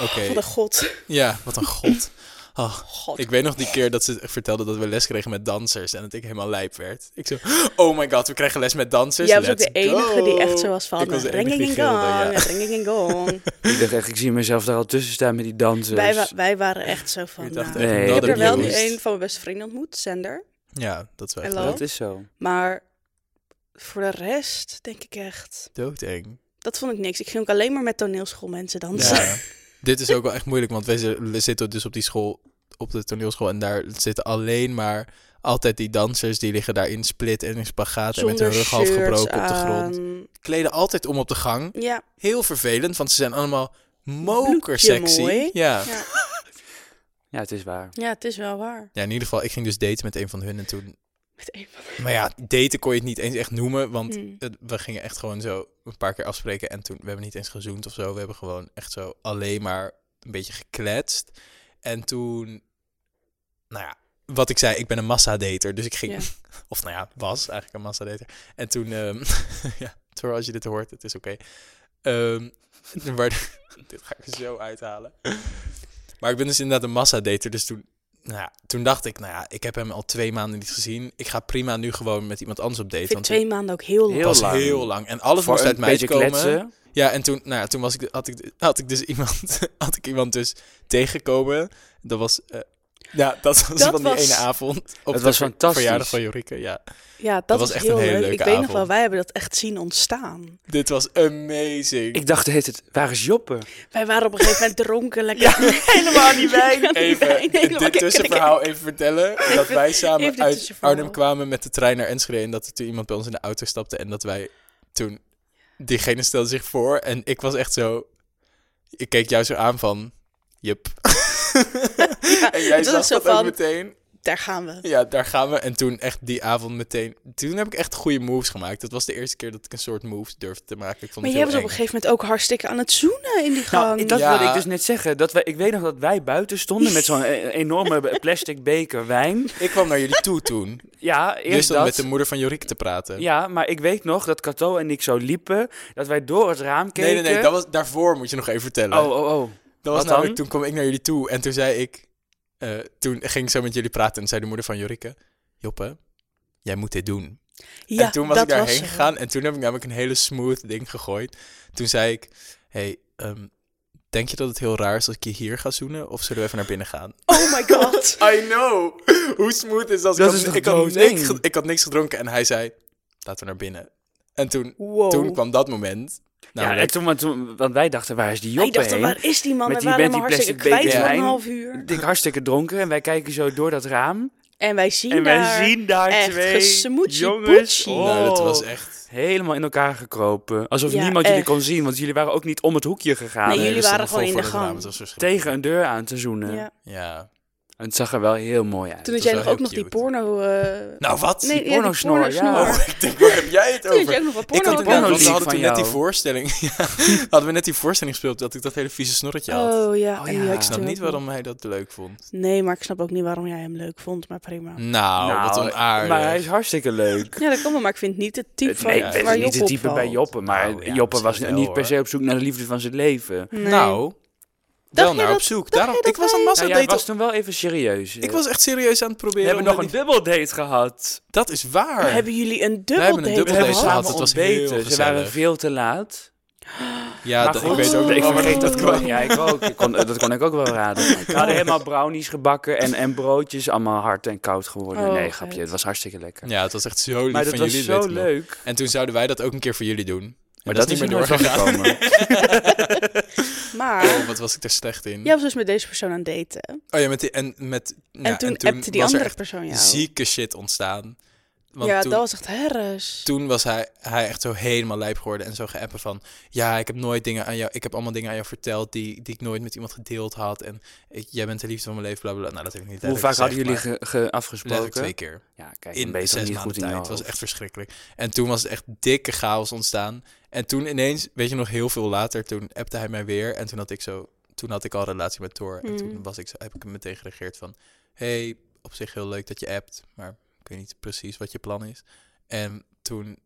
[SPEAKER 1] Oké.
[SPEAKER 2] van de god.
[SPEAKER 1] ja, wat een god. Oh,
[SPEAKER 2] God.
[SPEAKER 1] ik weet nog die keer dat ze vertelde dat we les kregen met dansers en dat ik helemaal lijp werd. Ik zo, oh my god, we krijgen les met dansers.
[SPEAKER 2] Jij was ook
[SPEAKER 1] Let's
[SPEAKER 2] de enige die echt zo
[SPEAKER 1] go."
[SPEAKER 2] was van...
[SPEAKER 1] Ik was de enige die
[SPEAKER 2] ringingingong,
[SPEAKER 1] gilde, ja.
[SPEAKER 2] ringingingong.
[SPEAKER 3] Ik dacht echt, ik zie mezelf daar al tussen staan met die dansers.
[SPEAKER 2] wij, wa- wij waren echt zo van...
[SPEAKER 1] Ik dacht
[SPEAKER 2] nou,
[SPEAKER 1] echt,
[SPEAKER 3] Nee.
[SPEAKER 2] ik heb
[SPEAKER 1] another
[SPEAKER 2] er wel nu
[SPEAKER 1] tourist.
[SPEAKER 2] een van mijn beste vrienden ontmoet, Sander.
[SPEAKER 1] Ja, dat is wel echt
[SPEAKER 2] Hallo?
[SPEAKER 1] dood-
[SPEAKER 3] Dat is zo.
[SPEAKER 2] Maar voor de rest denk ik echt...
[SPEAKER 1] doodeng.
[SPEAKER 2] Dat vond ik niks. Ik ging ook alleen maar met toneelschoolmensen dansen.
[SPEAKER 1] Ja. Dit is ook wel echt moeilijk, want wij zi- we zitten dus op die school, op de toneelschool, en daar zitten alleen maar altijd die dansers die liggen daar in split en in spagaat en met hun rug half
[SPEAKER 2] shirts
[SPEAKER 1] gebroken op de grond.
[SPEAKER 2] aan.
[SPEAKER 1] Kleden altijd om op de gang.
[SPEAKER 2] Ja,
[SPEAKER 1] Heel vervelend, want ze zijn allemaal mokersexy.
[SPEAKER 2] Bloedje mooi.
[SPEAKER 1] Ja.
[SPEAKER 2] Ja.
[SPEAKER 3] Ja, het is waar.
[SPEAKER 2] ja, het is wel waar.
[SPEAKER 1] ja, in ieder geval, ik ging dus daten met een van hun en toen...
[SPEAKER 2] Met een van
[SPEAKER 1] Maar ja, daten kon je het niet eens echt noemen, want eh,
[SPEAKER 2] Hmm.
[SPEAKER 1] het- we gingen echt gewoon zo een paar keer afspreken en toen... We hebben niet eens gezoend of zo, we hebben gewoon echt zo alleen maar een beetje gekletst. En toen, nou ja, wat ik zei, ik ben een massadater, dus ik ging...
[SPEAKER 2] Ja.
[SPEAKER 1] Of nou ja, was eigenlijk een massadater. En toen, ehm ja, Tor, als je dit hoort, het is oké. Ehm, waar, dit ga ik er zo uithalen. Maar ik ben dus inderdaad een massadater. Dus toen, nou ja, toen dacht ik, nou ja, ik heb hem al twee maanden niet gezien. Ik ga prima nu gewoon met iemand anders op date.
[SPEAKER 2] Ik vind
[SPEAKER 1] Want
[SPEAKER 2] twee maanden ook heel lang.
[SPEAKER 1] het was
[SPEAKER 3] Heel lang.
[SPEAKER 1] heel lang. En alles
[SPEAKER 3] Voor
[SPEAKER 1] moest
[SPEAKER 3] een
[SPEAKER 1] uit mij
[SPEAKER 3] beetje
[SPEAKER 1] komen.
[SPEAKER 3] kletsen.
[SPEAKER 1] Ja, en toen, nou ja, toen was ik, had, ik, had ik dus iemand, had ik iemand dus tegengekomen. Dat was, eh, ja, dat was
[SPEAKER 2] Dat
[SPEAKER 1] van
[SPEAKER 2] was-
[SPEAKER 1] die ene avond. Op
[SPEAKER 3] Het
[SPEAKER 1] de
[SPEAKER 3] was
[SPEAKER 1] ver-
[SPEAKER 3] fantastisch.
[SPEAKER 1] verjaardag van Jorike, ja.
[SPEAKER 2] Ja,
[SPEAKER 1] was
[SPEAKER 2] dat, was,
[SPEAKER 1] echt
[SPEAKER 2] heel
[SPEAKER 1] een hele
[SPEAKER 2] leuk.
[SPEAKER 1] leuke
[SPEAKER 2] ik weet nog wel,
[SPEAKER 1] avond.
[SPEAKER 2] wij hebben dat echt zien ontstaan.
[SPEAKER 1] Dit was amazing.
[SPEAKER 3] Ik dacht, heet het, waar is Joppe?
[SPEAKER 2] Wij waren op een gegeven moment dronken, lekker.
[SPEAKER 3] Helemaal niet wijn.
[SPEAKER 1] even
[SPEAKER 2] Nee, nee, maar kijk,
[SPEAKER 1] dit
[SPEAKER 2] kijk,
[SPEAKER 1] tussenverhaal even vertellen. dat wij samen
[SPEAKER 2] even dit
[SPEAKER 1] uit
[SPEAKER 2] tussenverhaal.
[SPEAKER 1] Arnhem kwamen met de trein naar Enschede. En dat er toen iemand bij ons in de auto stapte. En dat wij toen... Diegene stelde zich voor. En ik was echt zo... Ik keek jou zo aan van... Jup. en jij
[SPEAKER 2] het was
[SPEAKER 1] zag
[SPEAKER 2] zo
[SPEAKER 1] dat ook
[SPEAKER 2] van-
[SPEAKER 1] meteen.
[SPEAKER 2] Daar gaan we.
[SPEAKER 1] Ja, daar gaan we. En toen echt die avond meteen... Toen heb ik echt goede moves gemaakt. Dat was de eerste keer dat ik een soort moves durfde te maken. Ik vond
[SPEAKER 2] Maar
[SPEAKER 1] het
[SPEAKER 2] jij
[SPEAKER 1] heel
[SPEAKER 2] was op een
[SPEAKER 1] eng.
[SPEAKER 2] gegeven moment ook hartstikke aan het zoenen in die gang.
[SPEAKER 3] Nou, dat
[SPEAKER 1] Ja.
[SPEAKER 3] wilde ik dus net zeggen. Dat wij, ik weet nog dat wij buiten stonden met zo'n eh, enorme plastic beker wijn.
[SPEAKER 1] Ik kwam naar jullie toe toen.
[SPEAKER 3] Ja,
[SPEAKER 1] Je
[SPEAKER 3] eerst
[SPEAKER 1] stond
[SPEAKER 3] dat.
[SPEAKER 1] met de moeder van Jorik te praten.
[SPEAKER 3] Ja, maar ik weet nog dat Cato en ik zo liepen. Dat wij door het raam keken.
[SPEAKER 1] Nee, nee, nee. Dat Nou, was, daarvoor moet je nog even vertellen.
[SPEAKER 3] Oh, oh, oh.
[SPEAKER 1] Dat was
[SPEAKER 3] Wat
[SPEAKER 1] namelijk,
[SPEAKER 3] dan?
[SPEAKER 1] toen kwam ik naar jullie toe en toen zei ik... eh, toen ging ik zo met jullie praten en zei de moeder van Jorike... Joppe, jij moet dit doen.
[SPEAKER 2] ja,
[SPEAKER 1] en toen was
[SPEAKER 2] dat
[SPEAKER 1] ik daarheen
[SPEAKER 2] zo.
[SPEAKER 1] gegaan en toen heb ik namelijk een hele smooth ding gegooid. Toen zei ik, hey, ehm, denk je dat het heel raar is als ik je hier ga zoenen? Of zullen we even naar binnen gaan?
[SPEAKER 2] Oh my god.
[SPEAKER 1] I know! Hoe smooth is dat?
[SPEAKER 3] Dat
[SPEAKER 1] ik, had,
[SPEAKER 3] is toch
[SPEAKER 1] ik, had
[SPEAKER 3] doodeng?
[SPEAKER 1] niks, ge- ik had niks gedronken en hij zei, laten we naar binnen. En toen, Oh.
[SPEAKER 2] Wow.
[SPEAKER 1] toen kwam dat moment.
[SPEAKER 3] Ja, en
[SPEAKER 1] namelijk-
[SPEAKER 3] toen, want, toen, want wij dachten, waar is die
[SPEAKER 2] Hij
[SPEAKER 3] Joppe
[SPEAKER 2] dacht,
[SPEAKER 3] heen?
[SPEAKER 2] waar is die man?
[SPEAKER 3] Met
[SPEAKER 2] We
[SPEAKER 3] die-
[SPEAKER 2] waren
[SPEAKER 3] met
[SPEAKER 2] hem
[SPEAKER 3] die
[SPEAKER 2] hartstikke
[SPEAKER 3] plastic
[SPEAKER 2] kwijt
[SPEAKER 1] beker
[SPEAKER 2] van een
[SPEAKER 3] wijn.
[SPEAKER 2] half uur.
[SPEAKER 3] Ik hartstikke dronken en wij kijken zo door dat raam.
[SPEAKER 2] En wij zien
[SPEAKER 3] en wij
[SPEAKER 2] daar
[SPEAKER 3] zien daar
[SPEAKER 2] echt
[SPEAKER 3] twee
[SPEAKER 2] gesmoetsie
[SPEAKER 3] jongens.
[SPEAKER 2] poetsie.
[SPEAKER 3] Oh,
[SPEAKER 1] Nou, dat was echt...
[SPEAKER 3] Helemaal in elkaar gekropen. Alsof
[SPEAKER 2] Ja,
[SPEAKER 3] niemand jullie
[SPEAKER 2] echt.
[SPEAKER 3] kon zien, want jullie waren ook niet om het hoekje gegaan.
[SPEAKER 2] Nee, jullie
[SPEAKER 1] we stonden
[SPEAKER 2] waren
[SPEAKER 1] vol
[SPEAKER 2] gewoon
[SPEAKER 1] voor
[SPEAKER 2] in de
[SPEAKER 1] dat raam,
[SPEAKER 2] gang.
[SPEAKER 1] het
[SPEAKER 3] dus
[SPEAKER 1] was verschrikkelijk.
[SPEAKER 3] Tegen een deur aan te zoenen.
[SPEAKER 2] Ja.
[SPEAKER 1] Ja.
[SPEAKER 3] En het zag er wel heel mooi uit.
[SPEAKER 2] Toen had
[SPEAKER 1] was
[SPEAKER 2] jij
[SPEAKER 1] wel
[SPEAKER 2] nog ook
[SPEAKER 1] heel
[SPEAKER 2] nog die
[SPEAKER 1] cute.
[SPEAKER 2] porno... eh,
[SPEAKER 1] Nou, wat?
[SPEAKER 2] Nee, ja, die
[SPEAKER 3] pornosnor, ja.
[SPEAKER 2] pornosnor.
[SPEAKER 1] Ik denk, waar heb jij het
[SPEAKER 2] Toen had jij
[SPEAKER 1] over?
[SPEAKER 2] ook nog wat
[SPEAKER 1] Ik
[SPEAKER 2] porno.
[SPEAKER 1] had inderdaad, want we
[SPEAKER 3] porno-leak
[SPEAKER 1] hadden
[SPEAKER 3] van
[SPEAKER 1] toen net die
[SPEAKER 3] jou.
[SPEAKER 1] voorstelling, ja, hadden we net die voorstelling gespeeld dat ik dat hele vieze snorretje had.
[SPEAKER 2] Oh ja,
[SPEAKER 3] Oh
[SPEAKER 2] en die
[SPEAKER 3] ja.
[SPEAKER 2] had
[SPEAKER 3] Ik
[SPEAKER 1] ik
[SPEAKER 2] je
[SPEAKER 1] snap
[SPEAKER 2] toen
[SPEAKER 1] niet
[SPEAKER 2] ook nog.
[SPEAKER 1] waarom hij dat leuk vond.
[SPEAKER 2] Nee, maar ik snap ook niet waarom jij hem leuk vond, maar prima.
[SPEAKER 1] Nou, wat onaardig.
[SPEAKER 3] Maar hij is hartstikke leuk.
[SPEAKER 2] Ja, dat kan wel, maar ik vind niet het type van
[SPEAKER 3] nee,
[SPEAKER 1] ik
[SPEAKER 3] ik
[SPEAKER 1] weet
[SPEAKER 2] waar
[SPEAKER 3] ben niet
[SPEAKER 2] Job
[SPEAKER 3] het
[SPEAKER 2] op
[SPEAKER 3] type bij
[SPEAKER 2] valt.
[SPEAKER 3] Joppe, maar
[SPEAKER 1] Oh, ja,
[SPEAKER 3] Joppe was
[SPEAKER 1] misschien wel,
[SPEAKER 3] niet per se op zoek naar de liefde van zijn leven.
[SPEAKER 2] Nee.
[SPEAKER 1] Nou,
[SPEAKER 2] Dacht
[SPEAKER 1] wel
[SPEAKER 2] je
[SPEAKER 1] naar op
[SPEAKER 2] dat-
[SPEAKER 1] zoek.
[SPEAKER 2] dacht
[SPEAKER 1] Daarom,
[SPEAKER 2] je dat
[SPEAKER 1] ik was een
[SPEAKER 2] wij-
[SPEAKER 1] massa
[SPEAKER 3] Nou,
[SPEAKER 1] date.
[SPEAKER 3] jij was toen wel even serieus.
[SPEAKER 1] Ik was echt serieus aan het
[SPEAKER 3] We
[SPEAKER 1] proberen.
[SPEAKER 3] hebben
[SPEAKER 1] om
[SPEAKER 3] nog een
[SPEAKER 1] die-
[SPEAKER 3] dubbeldate gehad.
[SPEAKER 1] Dat is waar.
[SPEAKER 2] Hebben jullie een
[SPEAKER 1] hebben een
[SPEAKER 2] dubbeldate
[SPEAKER 3] We
[SPEAKER 1] dubbeldate
[SPEAKER 3] hebben
[SPEAKER 1] gehad,
[SPEAKER 3] samen
[SPEAKER 1] het was heel
[SPEAKER 3] ontbeten. Ze
[SPEAKER 1] gezellig.
[SPEAKER 3] waren veel te laat.
[SPEAKER 1] Ja, dat, ik
[SPEAKER 3] goed,
[SPEAKER 1] weet ook
[SPEAKER 3] ik
[SPEAKER 1] niet waarom
[SPEAKER 3] vergeet dat
[SPEAKER 1] dat
[SPEAKER 3] kwam.
[SPEAKER 1] kwam.
[SPEAKER 3] Ja, ik ook. Ik kon, dat kon ik ook wel raden. We hadden helemaal brownies gebakken en, en broodjes. Allemaal hard en koud geworden.
[SPEAKER 2] Oh,
[SPEAKER 3] nee,
[SPEAKER 2] vet.
[SPEAKER 3] grapje. Het was hartstikke lekker.
[SPEAKER 1] Ja, het was echt zo lief
[SPEAKER 3] maar
[SPEAKER 1] van
[SPEAKER 3] dat was
[SPEAKER 1] jullie.
[SPEAKER 3] zo
[SPEAKER 1] weet ik nog.
[SPEAKER 3] leuk.
[SPEAKER 1] En toen zouden wij dat ook een keer voor jullie doen.
[SPEAKER 3] Maar dat, is
[SPEAKER 1] niet
[SPEAKER 3] niet
[SPEAKER 1] meer
[SPEAKER 3] meer
[SPEAKER 1] doorgegaan.
[SPEAKER 3] doorgekomen.
[SPEAKER 2] Maar
[SPEAKER 1] Oh, wat was ik er slecht in.
[SPEAKER 2] jij was dus met deze persoon aan het daten.
[SPEAKER 1] Oh ja, met die, en, met, ja,
[SPEAKER 2] en toen, appte
[SPEAKER 1] was
[SPEAKER 2] die
[SPEAKER 1] er
[SPEAKER 2] andere
[SPEAKER 1] echt
[SPEAKER 2] persoon jou.
[SPEAKER 1] zieke shit ontstaan. Want
[SPEAKER 2] ja,
[SPEAKER 1] toen,
[SPEAKER 2] dat was echt herres.
[SPEAKER 1] toen was hij, hij echt zo helemaal lijp geworden en zo geappen van... Ja, ik heb nooit dingen aan jou... Ik heb allemaal dingen aan jou verteld die, die ik nooit met iemand gedeeld had. En ik, jij bent de liefde van mijn leven, bla bla bla. Nou, dat heb ik niet
[SPEAKER 3] Hoe
[SPEAKER 1] letterlijk
[SPEAKER 3] vaak hadden
[SPEAKER 1] gezegd,
[SPEAKER 3] jullie
[SPEAKER 1] maar
[SPEAKER 3] ge- ge-
[SPEAKER 1] Letterlijk twee
[SPEAKER 3] afgesproken?
[SPEAKER 1] keer.
[SPEAKER 3] Ja, kijk, dan
[SPEAKER 1] In
[SPEAKER 3] ben je toch
[SPEAKER 1] zes
[SPEAKER 3] niet
[SPEAKER 1] maanden
[SPEAKER 3] goed in
[SPEAKER 1] tijd.
[SPEAKER 3] je
[SPEAKER 1] Het was
[SPEAKER 3] hoofd.
[SPEAKER 1] echt verschrikkelijk. En toen was het echt dikke chaos ontstaan. En toen ineens, weet je nog, heel veel later, toen appte hij mij weer. En toen had ik zo, toen had ik al een relatie met Thor. En
[SPEAKER 2] Mm.
[SPEAKER 3] Hmm.
[SPEAKER 1] toen was ik, zo- heb ik hem meteen gereageerd van... hey, op zich heel leuk dat je appt, maar ik weet niet precies wat je plan is. En toen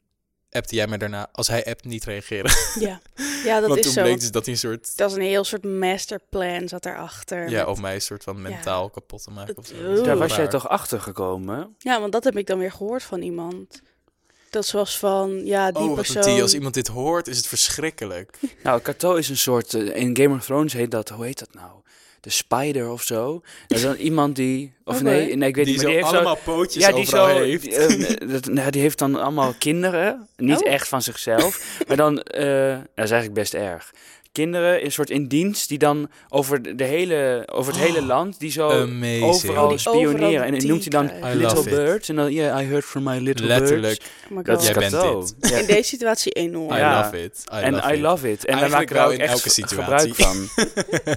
[SPEAKER 1] appte jij mij daarna, als hij appt, niet reageren.
[SPEAKER 2] Ja, ja dat
[SPEAKER 1] Want
[SPEAKER 2] is
[SPEAKER 1] toen
[SPEAKER 2] zo.
[SPEAKER 1] bleek dus dat hij een soort,
[SPEAKER 2] Dat is een heel soort masterplan zat daarachter.
[SPEAKER 1] ja,
[SPEAKER 2] Met-
[SPEAKER 1] op mij een soort van mentaal kapot te maken. Of zo.
[SPEAKER 2] Oeh.
[SPEAKER 3] Daar was jij
[SPEAKER 1] Waar.
[SPEAKER 3] toch achter gekomen?
[SPEAKER 2] ja, want dat heb ik dan weer gehoord van iemand. Dat zoals van, ja, die
[SPEAKER 1] Oh, wat een
[SPEAKER 2] persoon...
[SPEAKER 1] tea. Als iemand dit hoort, is het verschrikkelijk.
[SPEAKER 3] Nou, Kato is een soort. eh, In Game of Thrones heet dat. Hoe heet dat nou? De Spider of zo. Dat is dan iemand die. Of
[SPEAKER 2] Oké.
[SPEAKER 3] nee, nee, ik weet
[SPEAKER 1] die
[SPEAKER 3] niet.
[SPEAKER 1] zo
[SPEAKER 3] Maar die heeft zo.
[SPEAKER 1] allemaal pootjes
[SPEAKER 3] Ja, die zo.
[SPEAKER 1] overal heeft.
[SPEAKER 3] Die, eh, dat, nou, die heeft dan allemaal kinderen. Niet
[SPEAKER 2] Oh.
[SPEAKER 3] echt van zichzelf. maar dan. eh, dat is eigenlijk best erg. Kinderen, een soort in dienst, die dan over, de- de hele, over het hele land. die zo.
[SPEAKER 1] Oh, Amazing.
[SPEAKER 3] oh,
[SPEAKER 1] Oh,
[SPEAKER 3] Overal
[SPEAKER 2] die
[SPEAKER 3] spioneren.
[SPEAKER 2] overal
[SPEAKER 3] En,
[SPEAKER 2] die
[SPEAKER 3] noemt hij dan
[SPEAKER 2] krijgen.
[SPEAKER 1] I
[SPEAKER 3] Little
[SPEAKER 1] love it.
[SPEAKER 3] Birds. En dan, yeah, I heard from my little
[SPEAKER 1] Letterlijk.
[SPEAKER 3] birds.
[SPEAKER 2] Oh my
[SPEAKER 3] Dat
[SPEAKER 2] god.
[SPEAKER 3] is
[SPEAKER 1] Jij bent
[SPEAKER 3] Kato.
[SPEAKER 1] dit.
[SPEAKER 3] Ja.
[SPEAKER 2] In deze situatie enorm.
[SPEAKER 1] I
[SPEAKER 3] Ja.
[SPEAKER 1] love it. I
[SPEAKER 3] En
[SPEAKER 1] love
[SPEAKER 3] I
[SPEAKER 1] it.
[SPEAKER 3] love it. En wij
[SPEAKER 1] Eigenlijk
[SPEAKER 3] maken
[SPEAKER 1] wel
[SPEAKER 3] daar ook
[SPEAKER 1] in
[SPEAKER 3] echt
[SPEAKER 1] elke
[SPEAKER 3] ge-
[SPEAKER 1] situatie.
[SPEAKER 3] gebruik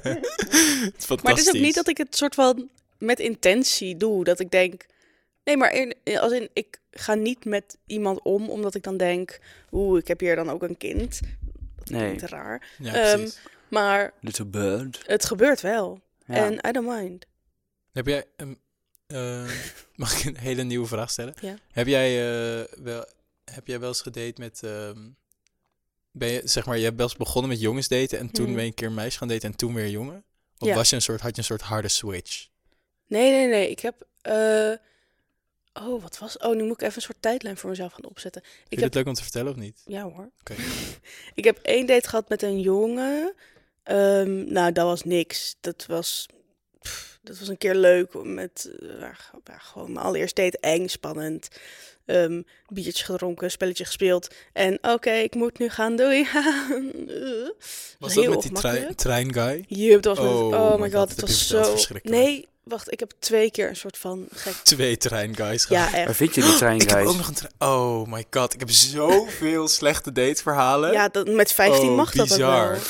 [SPEAKER 3] van.
[SPEAKER 1] Fantastisch.
[SPEAKER 2] Maar het is ook niet dat ik het soort van met intentie doe. Dat ik denk, nee, maar in, als in, ik ga niet met iemand om omdat ik dan denk, oeh, ik heb hier dan ook een kind. Dat
[SPEAKER 3] Nee.
[SPEAKER 2] klinkt raar.
[SPEAKER 1] Ja,
[SPEAKER 2] Ehm,
[SPEAKER 1] precies.
[SPEAKER 2] Maar
[SPEAKER 3] Little bird.
[SPEAKER 2] het gebeurt wel.
[SPEAKER 3] Ja.
[SPEAKER 2] En I don't mind.
[SPEAKER 1] Heb jij... ehm, eh, mag ik een hele nieuwe vraag stellen?
[SPEAKER 2] Ja.
[SPEAKER 1] Heb jij, eh, wel, heb jij wel eens gedate met... ehm, ben je, zeg maar, je hebt wel eens begonnen met jongens daten en toen
[SPEAKER 2] Hmm.
[SPEAKER 1] ben je een keer een meisje gaan daten en toen weer jongen? Of
[SPEAKER 2] Ja.
[SPEAKER 1] was je een soort, had je een soort harde switch?
[SPEAKER 2] Nee, nee, nee. Ik heb. eh, Oh, wat was. Oh, nu moet ik even een soort tijdlijn voor mezelf gaan opzetten.
[SPEAKER 1] Vind
[SPEAKER 2] Ik
[SPEAKER 1] je
[SPEAKER 2] heb.
[SPEAKER 1] het leuk om te vertellen of niet?
[SPEAKER 2] Ja hoor.
[SPEAKER 1] Oké.
[SPEAKER 2] Ik heb één date gehad met een jongen. Ehm, nou, dat was niks. Dat was. pff, dat was een keer leuk. Met, eh, ja, ge- ja, gewoon mijn allereerste date. Eng, spannend. Ehm biertje gedronken, spelletje gespeeld. En oké, ik moet nu gaan. Doei.
[SPEAKER 1] Was
[SPEAKER 2] Heel
[SPEAKER 1] dat met die trein,
[SPEAKER 2] ongemakkelijk.
[SPEAKER 1] trein guy?
[SPEAKER 2] Yep, dat was met-
[SPEAKER 1] Oh
[SPEAKER 2] oh
[SPEAKER 1] my
[SPEAKER 2] my
[SPEAKER 1] god,
[SPEAKER 2] god,
[SPEAKER 1] dit
[SPEAKER 2] het
[SPEAKER 1] heb je
[SPEAKER 2] was
[SPEAKER 1] verteld,
[SPEAKER 2] zo...
[SPEAKER 1] verschrikkelijk.
[SPEAKER 2] Nee, wacht, ik heb twee keer een soort van gek...
[SPEAKER 1] Twee trein guys. gehad.
[SPEAKER 2] Ja, echt.
[SPEAKER 3] Waar vind je die
[SPEAKER 1] Ik heb
[SPEAKER 3] treinreis?
[SPEAKER 1] ook nog een trein. Oh my god, ik heb zoveel slechte dateverhalen.
[SPEAKER 2] Ja, dat, met 15
[SPEAKER 1] Oh,
[SPEAKER 2] mag dat
[SPEAKER 1] bizar.
[SPEAKER 2] ook wel.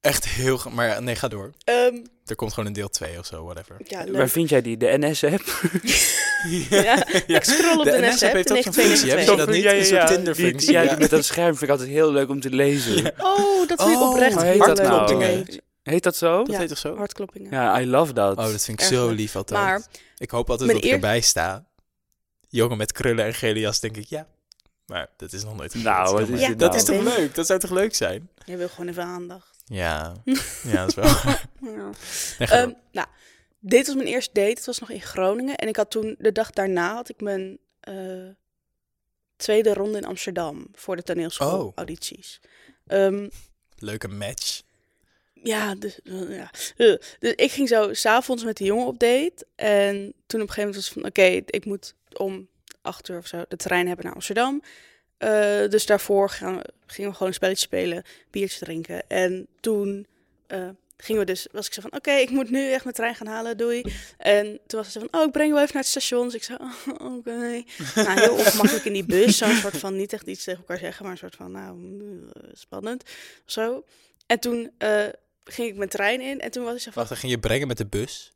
[SPEAKER 1] Echt heel... ge- Maar ja, nee, ga door.
[SPEAKER 2] Ehm,
[SPEAKER 1] Er komt gewoon een deel 2 of zo, whatever.
[SPEAKER 2] ja, leuk.
[SPEAKER 3] Waar vind jij die? De NS-app?
[SPEAKER 2] Ja, ik scroll op de,
[SPEAKER 1] NS-app
[SPEAKER 2] NS-app.
[SPEAKER 1] heeft ook zo'n
[SPEAKER 2] 92.
[SPEAKER 1] functie, hè? Heb je dat niet? Een soort Tinder-functie,
[SPEAKER 3] Die, ja,
[SPEAKER 1] ja.
[SPEAKER 3] die met dat scherm vind ik altijd heel leuk om te lezen.
[SPEAKER 2] Oh, dat vind ik
[SPEAKER 1] Oh,
[SPEAKER 2] oprecht
[SPEAKER 1] hoe
[SPEAKER 3] heet
[SPEAKER 2] heel
[SPEAKER 3] dat
[SPEAKER 2] leuk.
[SPEAKER 3] nou?
[SPEAKER 2] Nee,
[SPEAKER 3] Heet dat zo?
[SPEAKER 1] Dat
[SPEAKER 2] Ja.
[SPEAKER 1] heet toch zo?
[SPEAKER 2] Hartkloppingen.
[SPEAKER 3] Ja, I love
[SPEAKER 1] Oh,
[SPEAKER 3] that.
[SPEAKER 1] dat vind ik
[SPEAKER 2] Erg
[SPEAKER 1] zo
[SPEAKER 2] leuk.
[SPEAKER 1] lief altijd.
[SPEAKER 2] Maar
[SPEAKER 1] ik hoop altijd
[SPEAKER 2] mijn
[SPEAKER 1] dat ik
[SPEAKER 2] eer-
[SPEAKER 1] erbij sta. Jongen met krullen en gele jas, denk ik, ja. Maar dat is nog nooit gebeurd.
[SPEAKER 3] Nou, wat
[SPEAKER 1] Doe
[SPEAKER 3] is
[SPEAKER 1] maar.
[SPEAKER 2] Ja,
[SPEAKER 3] dit
[SPEAKER 1] Dat
[SPEAKER 3] nou?
[SPEAKER 1] is toch
[SPEAKER 2] Nou.
[SPEAKER 1] leuk? Dat zou toch leuk zijn?
[SPEAKER 2] jij wil gewoon even aandacht.
[SPEAKER 1] Ja, ja dat is wel...
[SPEAKER 2] Ja.
[SPEAKER 1] Nee, ga door.
[SPEAKER 2] Ehm, nou, dit was mijn eerste date. Het was nog in Groningen. En ik had toen, de dag daarna, had ik mijn eh, tweede ronde in Amsterdam voor de toneelschool
[SPEAKER 1] Oh.
[SPEAKER 2] audities. Ehm,
[SPEAKER 1] Leuke match.
[SPEAKER 2] ja, dus, eh, ja. Eh, dus ik ging zo s'avonds met die jongen op date. En toen op een gegeven moment was het van, oké, ik moet om acht uur of zo de trein hebben naar Amsterdam. Eh, dus daarvoor gaan we- gingen we gewoon een spelletje spelen, biertje drinken. En toen eh, gingen we dus, was ik zo van, oké, ik moet nu echt mijn trein gaan halen, doei. En toen was ze van, oh, ik breng je wel even naar het station. Dus ik zei, oh, oké. Nou, heel ongemakkelijk in die bus, zo'n soort van, niet echt iets tegen elkaar zeggen, maar een soort van, nou, mm, eh, spannend, zo. En toen eh, ging ik mijn trein in en toen was ik zo van,
[SPEAKER 1] Wacht, hij ging je brengen met de bus?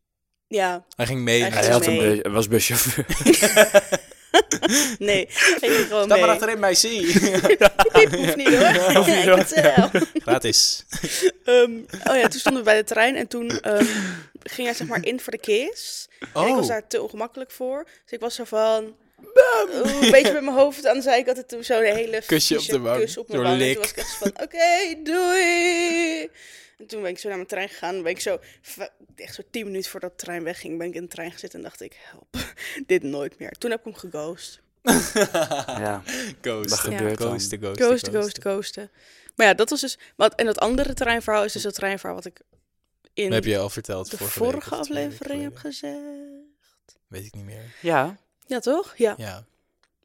[SPEAKER 2] ja,
[SPEAKER 1] Hij ging mee.
[SPEAKER 2] Hij
[SPEAKER 1] naar
[SPEAKER 3] Hij
[SPEAKER 1] de
[SPEAKER 2] ging
[SPEAKER 3] had
[SPEAKER 1] bus.
[SPEAKER 3] een
[SPEAKER 2] mee.
[SPEAKER 3] bus, was buschauffeur.
[SPEAKER 2] nee, ik ging gewoon
[SPEAKER 1] Sta
[SPEAKER 2] mee.
[SPEAKER 1] maar achterin, meisje.
[SPEAKER 2] Piep, hoeft niet hoor.
[SPEAKER 1] Hoeft niet,
[SPEAKER 2] ik
[SPEAKER 1] hoor.
[SPEAKER 2] het wel.
[SPEAKER 1] Gratis.
[SPEAKER 2] Ehm, oh ja, toen stonden we bij de trein en toen ehm, ging hij zeg maar in voor de kiss. En ik was
[SPEAKER 1] Oh,
[SPEAKER 2] daar te ongemakkelijk voor. Dus ik was zo van... Oeh, een beetje met mijn hoofd aan de zijkant. En toen zo'n hele
[SPEAKER 1] Kusje op
[SPEAKER 2] vieze
[SPEAKER 1] de wang.
[SPEAKER 2] kus op mijn
[SPEAKER 1] Zo'n
[SPEAKER 2] wang. En
[SPEAKER 1] lik.
[SPEAKER 2] toen was ik echt zo van, oké, doei. En toen ben ik zo naar mijn trein gegaan. Ben ik zo, v- echt zo tien minuten voordat de trein wegging, ben ik in de trein gezeten. En dacht ik, help, dit nooit meer. Toen heb ik hem geghost.
[SPEAKER 3] Ja, dat
[SPEAKER 1] ghost.
[SPEAKER 3] gebeurt dan.
[SPEAKER 1] Ghost, ghost,
[SPEAKER 2] Ghost, ghost, ghosten. Maar ja, dat was dus... Wat, en dat andere treinverhaal is dus dat treinverhaal wat ik in
[SPEAKER 1] Dat heb je al verteld.
[SPEAKER 2] de
[SPEAKER 1] vorige week of twee
[SPEAKER 2] vorige
[SPEAKER 1] weken
[SPEAKER 2] aflevering heb
[SPEAKER 1] geleden.
[SPEAKER 2] gezegd.
[SPEAKER 1] Weet ik niet meer.
[SPEAKER 3] ja.
[SPEAKER 2] Ja, toch? Ja.
[SPEAKER 1] Ja.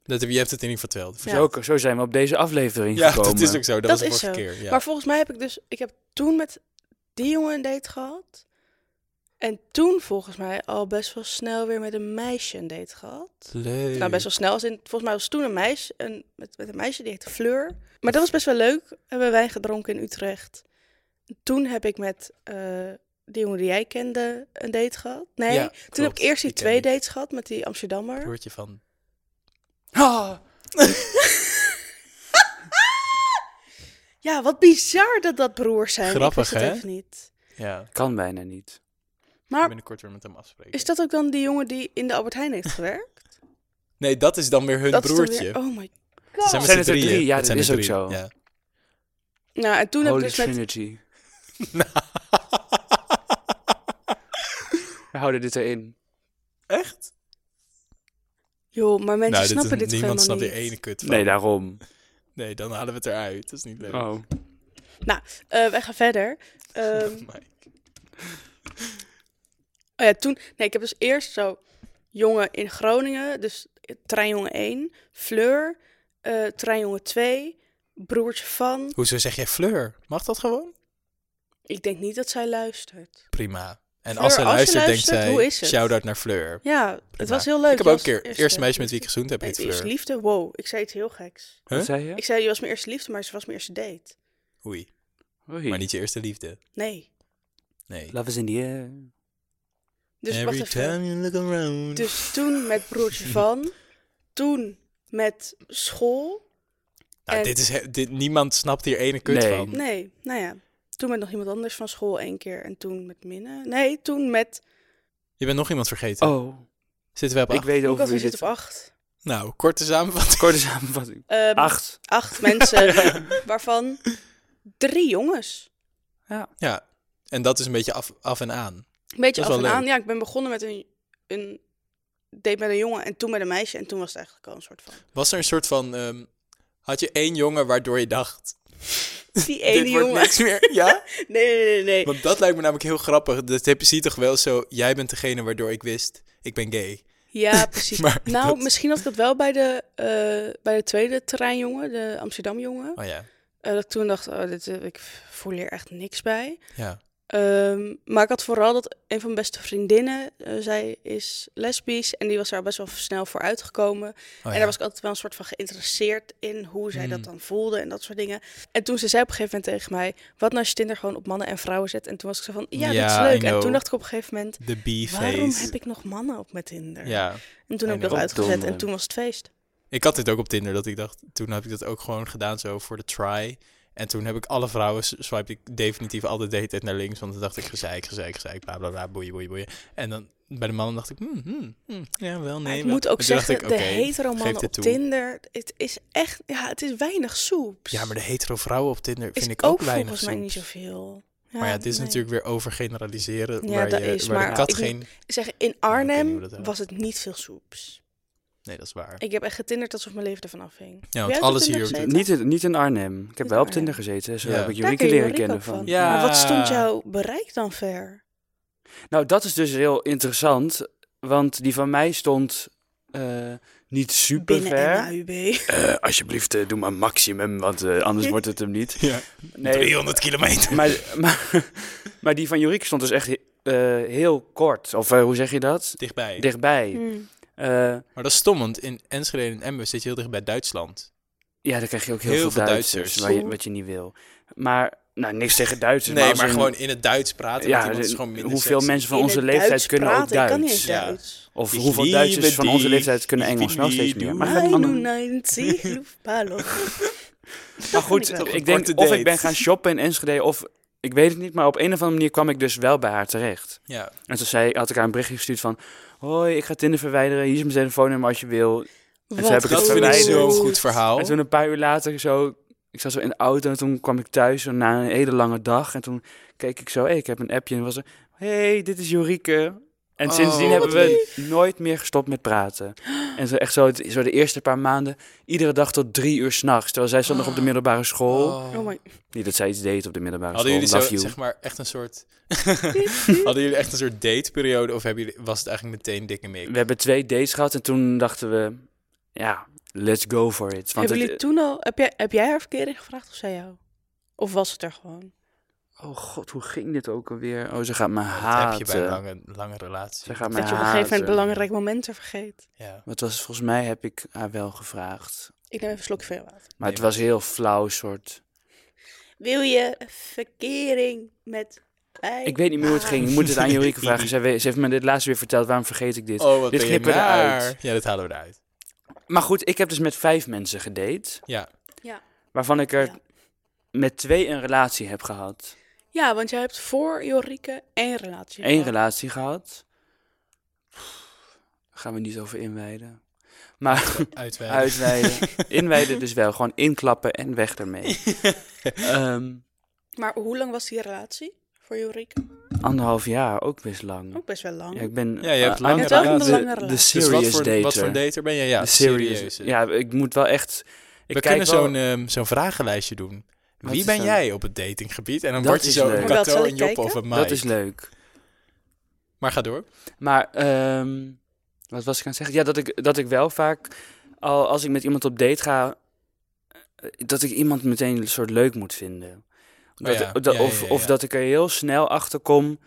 [SPEAKER 1] Dat heb, je hebt het in ieder geval verteld.
[SPEAKER 2] Ja.
[SPEAKER 3] Zo, zo zijn we op deze aflevering
[SPEAKER 1] Ja,
[SPEAKER 3] gekomen.
[SPEAKER 1] dat is ook zo. Dat,
[SPEAKER 2] Dat
[SPEAKER 1] was de
[SPEAKER 2] is
[SPEAKER 1] vorige
[SPEAKER 2] zo.
[SPEAKER 1] keer. Ja.
[SPEAKER 2] Maar volgens mij heb ik dus... Ik heb toen met die jongen een date gehad. En toen volgens mij al best wel snel weer met een meisje een date gehad.
[SPEAKER 1] Leuk.
[SPEAKER 2] Nou, best wel snel. Als in, volgens mij was toen een meisje, een, met, met een meisje die heette Fleur. Maar dat was best wel leuk. Hebben wij gedronken in Utrecht. Toen heb ik met eh, die jongen die jij kende een date gehad. Nee,
[SPEAKER 1] Ja,
[SPEAKER 2] toen heb
[SPEAKER 1] klopt.
[SPEAKER 2] ik eerst die
[SPEAKER 1] Die ken
[SPEAKER 2] twee
[SPEAKER 1] ik.
[SPEAKER 2] dates gehad met die Amsterdammer.
[SPEAKER 1] Broertje van...
[SPEAKER 3] Ah,
[SPEAKER 2] Ja, wat bizar dat dat broers zijn. Ik wist
[SPEAKER 1] Grappig,
[SPEAKER 2] het
[SPEAKER 1] hè?
[SPEAKER 2] Even niet.
[SPEAKER 1] Ja,
[SPEAKER 3] kan bijna niet.
[SPEAKER 2] Maar
[SPEAKER 1] binnenkort weer met hem afspreken.
[SPEAKER 2] is dat ook dan die jongen die in de Albert Heijn heeft gewerkt?
[SPEAKER 1] Nee, dat is dan weer hun
[SPEAKER 2] dat is dan
[SPEAKER 1] broertje.
[SPEAKER 2] weer- oh my
[SPEAKER 1] Ze
[SPEAKER 2] god.
[SPEAKER 1] zijn met
[SPEAKER 3] Zijn
[SPEAKER 1] z'n
[SPEAKER 3] het er
[SPEAKER 1] drieën.
[SPEAKER 3] drie?
[SPEAKER 1] Het
[SPEAKER 3] Ja, dat
[SPEAKER 1] zijn
[SPEAKER 3] is
[SPEAKER 1] er
[SPEAKER 3] ook
[SPEAKER 1] drie.
[SPEAKER 3] zo.
[SPEAKER 1] Ja.
[SPEAKER 2] Nou, en toen heb ik
[SPEAKER 3] Holy
[SPEAKER 2] dus met...
[SPEAKER 3] Trinity. We houden dit erin.
[SPEAKER 1] Echt?
[SPEAKER 2] Joh, maar mensen
[SPEAKER 1] nou, dit
[SPEAKER 2] snappen
[SPEAKER 1] is,
[SPEAKER 2] dit,
[SPEAKER 1] niemand
[SPEAKER 2] gewoon
[SPEAKER 1] snapt
[SPEAKER 2] helemaal
[SPEAKER 1] er
[SPEAKER 2] niet.
[SPEAKER 1] ene kut van.
[SPEAKER 3] Nee, daarom.
[SPEAKER 1] Nee, dan halen we het eruit. Dat is niet leuk.
[SPEAKER 3] Oh.
[SPEAKER 2] Eh, wij gaan verder. Ehm,
[SPEAKER 1] Mike.
[SPEAKER 2] Oh ja, toen... Nee, ik heb dus eerst zo jongen in Groningen. Dus treinjongen 1. Fleur. eh, treinjongen 2. Broertje van.
[SPEAKER 1] Hoezo zeg jij Fleur? Mag dat gewoon?
[SPEAKER 2] Ik denk niet dat zij luistert.
[SPEAKER 1] Prima. En
[SPEAKER 2] Fleur,
[SPEAKER 1] als ze
[SPEAKER 2] als je
[SPEAKER 1] luistert, denkt
[SPEAKER 2] luistert, hoe
[SPEAKER 1] zij...
[SPEAKER 2] is het?
[SPEAKER 1] Shout-out naar Fleur.
[SPEAKER 2] Ja, het
[SPEAKER 1] Prima.
[SPEAKER 2] was heel leuk.
[SPEAKER 1] Ik heb
[SPEAKER 2] Je
[SPEAKER 1] ook een
[SPEAKER 2] was
[SPEAKER 1] keer...
[SPEAKER 2] eerste-
[SPEAKER 1] Eerste meisje met wie ik gezoend heb,
[SPEAKER 2] Nee,
[SPEAKER 1] heet
[SPEAKER 2] de eerste
[SPEAKER 1] Fleur.
[SPEAKER 2] liefde? Wow, ik zei iets heel geks.
[SPEAKER 1] Huh?
[SPEAKER 3] Wat zei je?
[SPEAKER 2] Ik zei, je was mijn eerste liefde, maar ze was mijn eerste date.
[SPEAKER 1] Oei.
[SPEAKER 3] Oei.
[SPEAKER 1] Maar niet je eerste liefde.
[SPEAKER 2] Nee.
[SPEAKER 1] Nee.
[SPEAKER 3] Love is in the air.
[SPEAKER 2] Dus
[SPEAKER 1] Every
[SPEAKER 2] wacht even.
[SPEAKER 1] time you look around.
[SPEAKER 2] Dus toen met broertje van. Toen met school.
[SPEAKER 1] nou,
[SPEAKER 2] en-
[SPEAKER 1] dit is, he- dit, niemand snapt hier ene kut
[SPEAKER 3] Nee.
[SPEAKER 1] van.
[SPEAKER 2] eh, Nee, nou ja. Toen met nog iemand anders van school één keer. En toen met Minne. Nee, toen met...
[SPEAKER 1] Je bent nog iemand vergeten.
[SPEAKER 3] Oh,
[SPEAKER 1] Zitten we op
[SPEAKER 3] ik
[SPEAKER 1] acht?
[SPEAKER 3] weet
[SPEAKER 2] Ook
[SPEAKER 3] over
[SPEAKER 2] als we
[SPEAKER 3] wie
[SPEAKER 2] zitten
[SPEAKER 3] dit...
[SPEAKER 2] op acht.
[SPEAKER 1] Nou, korte samenvatting.
[SPEAKER 3] Korte samenvatting.
[SPEAKER 2] Ehm,
[SPEAKER 3] Acht.
[SPEAKER 2] acht mensen, waarvan drie jongens.
[SPEAKER 1] Ja, en dat is een beetje af, af en aan.
[SPEAKER 2] Een beetje
[SPEAKER 1] Dat
[SPEAKER 2] af
[SPEAKER 1] is
[SPEAKER 2] en
[SPEAKER 1] wel
[SPEAKER 2] aan.
[SPEAKER 1] leuk.
[SPEAKER 2] Ja, ik ben begonnen met een, een date met een jongen en toen met een meisje. En toen was het eigenlijk al een soort van...
[SPEAKER 1] Was er een soort van... ehm, had je één jongen waardoor je dacht...
[SPEAKER 2] Die ene
[SPEAKER 1] dit wordt
[SPEAKER 2] jongen.
[SPEAKER 1] niks meer. Ja?
[SPEAKER 2] Nee, nee, nee, nee.
[SPEAKER 1] Want dat lijkt me namelijk heel grappig. Dat heb je ziet toch wel zo... Jij bent degene waardoor ik wist... Ik ben gay.
[SPEAKER 2] Ja, precies.
[SPEAKER 1] Maar
[SPEAKER 2] nou,
[SPEAKER 1] dat-
[SPEAKER 2] misschien had ik dat wel bij de, eh, bij de tweede terreinjongen, de Amsterdamjongen.
[SPEAKER 1] Oh ja.
[SPEAKER 2] Eh, dat ik toen dacht, oh, dit, eh, ik voel hier echt niks bij.
[SPEAKER 1] Ja. Oh
[SPEAKER 2] Ehm, maar ik had vooral dat een van mijn beste vriendinnen, eh, zij is lesbisch en die was daar best wel snel voor uitgekomen.
[SPEAKER 1] Oh
[SPEAKER 2] en
[SPEAKER 1] ja. Mm.
[SPEAKER 2] daar was ik altijd wel een soort van geïnteresseerd in hoe zij dat dan voelde en dat soort dingen. En toen ze zei op een gegeven moment tegen mij, wat nou als je Tinder gewoon op mannen en vrouwen zet? En toen was ik zo van, ja, dit
[SPEAKER 1] Ja,
[SPEAKER 2] is
[SPEAKER 1] I
[SPEAKER 2] leuk. En
[SPEAKER 1] know.
[SPEAKER 2] toen dacht ik op een gegeven moment,
[SPEAKER 1] De
[SPEAKER 2] waarom
[SPEAKER 1] B-face.
[SPEAKER 2] heb ik nog mannen op mijn Tinder?
[SPEAKER 1] Ja.
[SPEAKER 2] En toen
[SPEAKER 1] I
[SPEAKER 2] heb ik dat
[SPEAKER 1] know.
[SPEAKER 2] uitgezet en
[SPEAKER 3] Verdomme.
[SPEAKER 2] toen was het feest.
[SPEAKER 1] Ik had dit ook op Tinder, dat ik dacht, toen heb ik dat ook gewoon gedaan zo voor de try. En toen heb ik alle vrouwen, s- swipe ik definitief altijd de hele tijd naar links, want dan dacht ik gezeik, gezeik, gezeik, bla bla bla, boeien, boeien, boeien. En dan bij de mannen dacht ik, hmm, hmm, hmm, ja wel, nee.
[SPEAKER 2] ik
[SPEAKER 1] wel.
[SPEAKER 2] moet ook
[SPEAKER 1] En toen dacht
[SPEAKER 2] zeggen,
[SPEAKER 1] ik,
[SPEAKER 2] de
[SPEAKER 1] oké,
[SPEAKER 2] hetero
[SPEAKER 1] geef
[SPEAKER 2] mannen
[SPEAKER 1] dit
[SPEAKER 2] op
[SPEAKER 1] toe.
[SPEAKER 2] Tinder, het is echt, ja, het is weinig soeps.
[SPEAKER 1] Ja, maar de hetero vrouwen op Tinder
[SPEAKER 2] is
[SPEAKER 1] vind ik
[SPEAKER 2] ook,
[SPEAKER 1] ook, weinig
[SPEAKER 2] volgens mij niet
[SPEAKER 1] soeps.
[SPEAKER 2] zoveel.
[SPEAKER 1] Maar ja, het is
[SPEAKER 2] nee.
[SPEAKER 1] natuurlijk weer overgeneraliseren,
[SPEAKER 2] Ja,
[SPEAKER 1] waar,
[SPEAKER 2] dat
[SPEAKER 1] je,
[SPEAKER 2] is,
[SPEAKER 1] waar
[SPEAKER 2] maar
[SPEAKER 1] de kat
[SPEAKER 2] ik moet-
[SPEAKER 1] geen...
[SPEAKER 2] Zeg, in
[SPEAKER 1] weet niet
[SPEAKER 2] Arnhem
[SPEAKER 1] hoe dat helpt.
[SPEAKER 2] was het niet veel soeps.
[SPEAKER 1] Nee, dat is waar.
[SPEAKER 2] Ik heb echt getinderd alsof mijn leven ervan afhing.
[SPEAKER 1] Ja,
[SPEAKER 2] Heb jij
[SPEAKER 1] want
[SPEAKER 2] ook
[SPEAKER 1] alles
[SPEAKER 2] op
[SPEAKER 1] hier
[SPEAKER 2] Tinder
[SPEAKER 1] op
[SPEAKER 2] gezeten?
[SPEAKER 3] Niet, in- niet in Arnhem. Ik heb
[SPEAKER 2] in
[SPEAKER 3] wel op
[SPEAKER 2] Arnhem.
[SPEAKER 3] Tinder gezeten. Zo
[SPEAKER 1] Ja.
[SPEAKER 3] heb ik
[SPEAKER 2] Daar
[SPEAKER 3] Jurieke
[SPEAKER 2] ken je
[SPEAKER 3] leren
[SPEAKER 2] Jorik
[SPEAKER 3] kennen
[SPEAKER 2] ook
[SPEAKER 3] van.
[SPEAKER 1] Ja.
[SPEAKER 2] Maar wat
[SPEAKER 3] Eh,
[SPEAKER 2] stond jouw bereik dan ver?
[SPEAKER 3] Nou, dat is dus heel interessant. Want die van mij stond eh, niet super
[SPEAKER 2] Binnen
[SPEAKER 3] ver.
[SPEAKER 2] NAUB.
[SPEAKER 3] alsjeblieft, eh, doe maar maximum, want eh, anders wordt het hem niet.
[SPEAKER 1] Ja,
[SPEAKER 3] Nee,
[SPEAKER 1] 300 kilometer.
[SPEAKER 3] maar, maar, maar die van Jurieke stond dus echt eh, heel kort. Of eh, hoe zeg je dat?
[SPEAKER 1] Dichtbij.
[SPEAKER 3] Dichtbij.
[SPEAKER 2] Hmm.
[SPEAKER 3] Eh,
[SPEAKER 1] Maar dat is stom, want in Enschede en Emmen zit je heel dicht bij
[SPEAKER 3] Dus
[SPEAKER 1] Duitsland.
[SPEAKER 3] ja, dan krijg je ook heel,
[SPEAKER 1] Heel
[SPEAKER 3] veel
[SPEAKER 1] veel
[SPEAKER 3] Duitsers,
[SPEAKER 1] Duitsers.
[SPEAKER 3] waar je- wat je niet wil. Maar, nou, niks tegen Duitsers.
[SPEAKER 1] Nee,
[SPEAKER 3] maar, als
[SPEAKER 1] Dus maar
[SPEAKER 3] een-
[SPEAKER 1] gewoon in het Duits praten met
[SPEAKER 3] Ja,
[SPEAKER 1] iemand is
[SPEAKER 3] de-
[SPEAKER 1] gewoon minder
[SPEAKER 3] hoeveel
[SPEAKER 1] sexy.
[SPEAKER 3] mensen van
[SPEAKER 2] In
[SPEAKER 3] onze
[SPEAKER 2] het
[SPEAKER 3] leeftijd
[SPEAKER 2] Duits
[SPEAKER 3] kunnen ook
[SPEAKER 2] praten,
[SPEAKER 3] Duits?
[SPEAKER 2] Ik kan niet eens
[SPEAKER 1] Ja.
[SPEAKER 2] Duits.
[SPEAKER 3] Of
[SPEAKER 1] Ik
[SPEAKER 3] hoeveel
[SPEAKER 1] liebe
[SPEAKER 3] Duitsers van onze
[SPEAKER 1] die.
[SPEAKER 3] leeftijd kunnen
[SPEAKER 1] Ik
[SPEAKER 3] Engels? Nou,
[SPEAKER 1] liebe
[SPEAKER 3] steeds
[SPEAKER 1] die.
[SPEAKER 3] meer. Maar,
[SPEAKER 1] Maar
[SPEAKER 3] gaat
[SPEAKER 2] Mijn
[SPEAKER 3] allemaal-
[SPEAKER 2] Nancy Luftballon.
[SPEAKER 3] maar
[SPEAKER 2] vind ik
[SPEAKER 3] goed,
[SPEAKER 2] wel.
[SPEAKER 1] Toch een
[SPEAKER 3] ik denk
[SPEAKER 1] korte
[SPEAKER 3] of ik
[SPEAKER 1] date.
[SPEAKER 3] ben gaan shoppen in Enschede of... Ik weet het niet, maar op een of andere manier kwam ik dus wel bij haar terecht.
[SPEAKER 1] Ja,
[SPEAKER 3] En toen zei, had ik haar een berichtje gestuurd van... Hoi, ik ga Tinder verwijderen. Hier is mijn telefoonnummer als je wil.
[SPEAKER 2] Wat
[SPEAKER 3] heb ik
[SPEAKER 1] dat
[SPEAKER 3] het
[SPEAKER 1] vind ik
[SPEAKER 3] verwijderd.
[SPEAKER 1] zo'n goed verhaal.
[SPEAKER 3] En toen dus- een paar uur later zo... Ik zat zo in de auto en toen kwam ik thuis zo na een hele lange dag. En toen keek ik zo, hey, ik heb een appje. En was er, hey, dit is Jorike. En
[SPEAKER 1] Oh,
[SPEAKER 3] sindsdien
[SPEAKER 1] wat
[SPEAKER 3] hebben we nooit meer gestopt met praten. En zo echt zo, het- zo de eerste paar maanden, iedere dag tot drie uur s'nachts. Terwijl zij zat nog op de middelbare school.
[SPEAKER 2] Oh my
[SPEAKER 3] Niet dat zij iets deed op de middelbare
[SPEAKER 1] Hadden
[SPEAKER 3] school.
[SPEAKER 1] jullie zo,
[SPEAKER 3] Love you.
[SPEAKER 1] zeg maar, echt een soort... Hadden jullie echt een soort dateperiode of hebben jullie, was het eigenlijk meteen dikke mik?
[SPEAKER 3] We hebben twee dates gehad en toen dachten we, ja, let's go for it. Want
[SPEAKER 2] Hebben
[SPEAKER 3] het-
[SPEAKER 2] jullie toen al... Heb jij, heb jij haar verkering gevraagd of zij jou? Of was het er gewoon?
[SPEAKER 3] Oh god, hoe ging dit ook alweer? Oh, ze gaat me
[SPEAKER 1] Dat heb je bij een
[SPEAKER 3] haten.
[SPEAKER 1] lange, lange relatie.
[SPEAKER 3] eh. Nou, Ze gaat me
[SPEAKER 2] Dat je
[SPEAKER 3] haten.
[SPEAKER 2] op een gegeven moment belangrijke momenten vergeet.
[SPEAKER 1] Ja.
[SPEAKER 3] Wat was, volgens mij heb ik haar wel gevraagd.
[SPEAKER 2] Ik neem even een slokje van je water.
[SPEAKER 3] Maar
[SPEAKER 1] Nee,
[SPEAKER 3] het was heel flauw soort.
[SPEAKER 2] Wil je verkering met mij?
[SPEAKER 3] Ik weet niet meer hoe het ging. Ik moet het aan Jorike vragen. Zij weet- Ze heeft me dit laatst weer verteld. Waarom vergeet ik dit?
[SPEAKER 1] Oh, wat
[SPEAKER 3] Dit
[SPEAKER 1] ben je
[SPEAKER 3] knippen we
[SPEAKER 1] naar.
[SPEAKER 3] eruit.
[SPEAKER 1] Ja, dat halen we eruit.
[SPEAKER 3] Maar goed, ik heb dus met vijf mensen gedate.
[SPEAKER 1] Ja.
[SPEAKER 2] Ja.
[SPEAKER 3] Waarvan ik er
[SPEAKER 2] Ja.
[SPEAKER 3] met twee een relatie heb gehad.
[SPEAKER 2] Ja, want jij hebt voor Jorike één relatie.
[SPEAKER 3] Eén
[SPEAKER 2] gehad.
[SPEAKER 3] relatie gehad. Pff, Gaan we niet over inwijden. Maar
[SPEAKER 1] Uitwijden.
[SPEAKER 3] uitwijden. Inwijden dus wel. Gewoon inklappen en weg ermee. Ehm,
[SPEAKER 2] Maar hoe lang was die relatie voor Jorike?
[SPEAKER 3] anderhalf jaar, ook best lang.
[SPEAKER 2] Ook best wel lang.
[SPEAKER 3] Hm. Ja, ik ben
[SPEAKER 1] Ja, je hebt
[SPEAKER 3] aan-
[SPEAKER 1] lange
[SPEAKER 3] aan-
[SPEAKER 1] Je hebt ook een
[SPEAKER 2] lange
[SPEAKER 3] de, de
[SPEAKER 2] relatie.
[SPEAKER 1] Dus
[SPEAKER 3] serious
[SPEAKER 1] wat voor,
[SPEAKER 3] dater.
[SPEAKER 1] wat voor dater ben je? Ja,
[SPEAKER 3] De
[SPEAKER 1] serieus.
[SPEAKER 3] serious. Ja, ik moet wel echt... Ik
[SPEAKER 1] we
[SPEAKER 3] kijk
[SPEAKER 1] kunnen
[SPEAKER 3] wel-
[SPEAKER 1] zo'n ehm, zo'n vragenlijstje doen.
[SPEAKER 3] Wat
[SPEAKER 1] Wie
[SPEAKER 3] is
[SPEAKER 1] ben
[SPEAKER 3] dat?
[SPEAKER 1] jij op het datinggebied? En dan
[SPEAKER 3] Dat
[SPEAKER 1] word je
[SPEAKER 3] is
[SPEAKER 1] zo
[SPEAKER 3] leuk.
[SPEAKER 1] een
[SPEAKER 2] Oh, dat zal
[SPEAKER 1] Kato,
[SPEAKER 2] ik
[SPEAKER 1] een Job
[SPEAKER 2] kijken.
[SPEAKER 1] of een Mike.
[SPEAKER 3] Dat is leuk.
[SPEAKER 1] Maar ga door. Oh,
[SPEAKER 3] Maar ehm, wat was ik aan het zeggen? Ja, dat ik, dat ik wel vaak, al als ik met iemand op date ga, eh, dat ik iemand meteen een soort leuk moet vinden. Dat,
[SPEAKER 1] Oh ja,
[SPEAKER 3] dat-
[SPEAKER 1] ja, ja,
[SPEAKER 3] of,
[SPEAKER 1] ja,
[SPEAKER 3] of
[SPEAKER 1] ja.
[SPEAKER 3] dat ik er heel snel achter kom,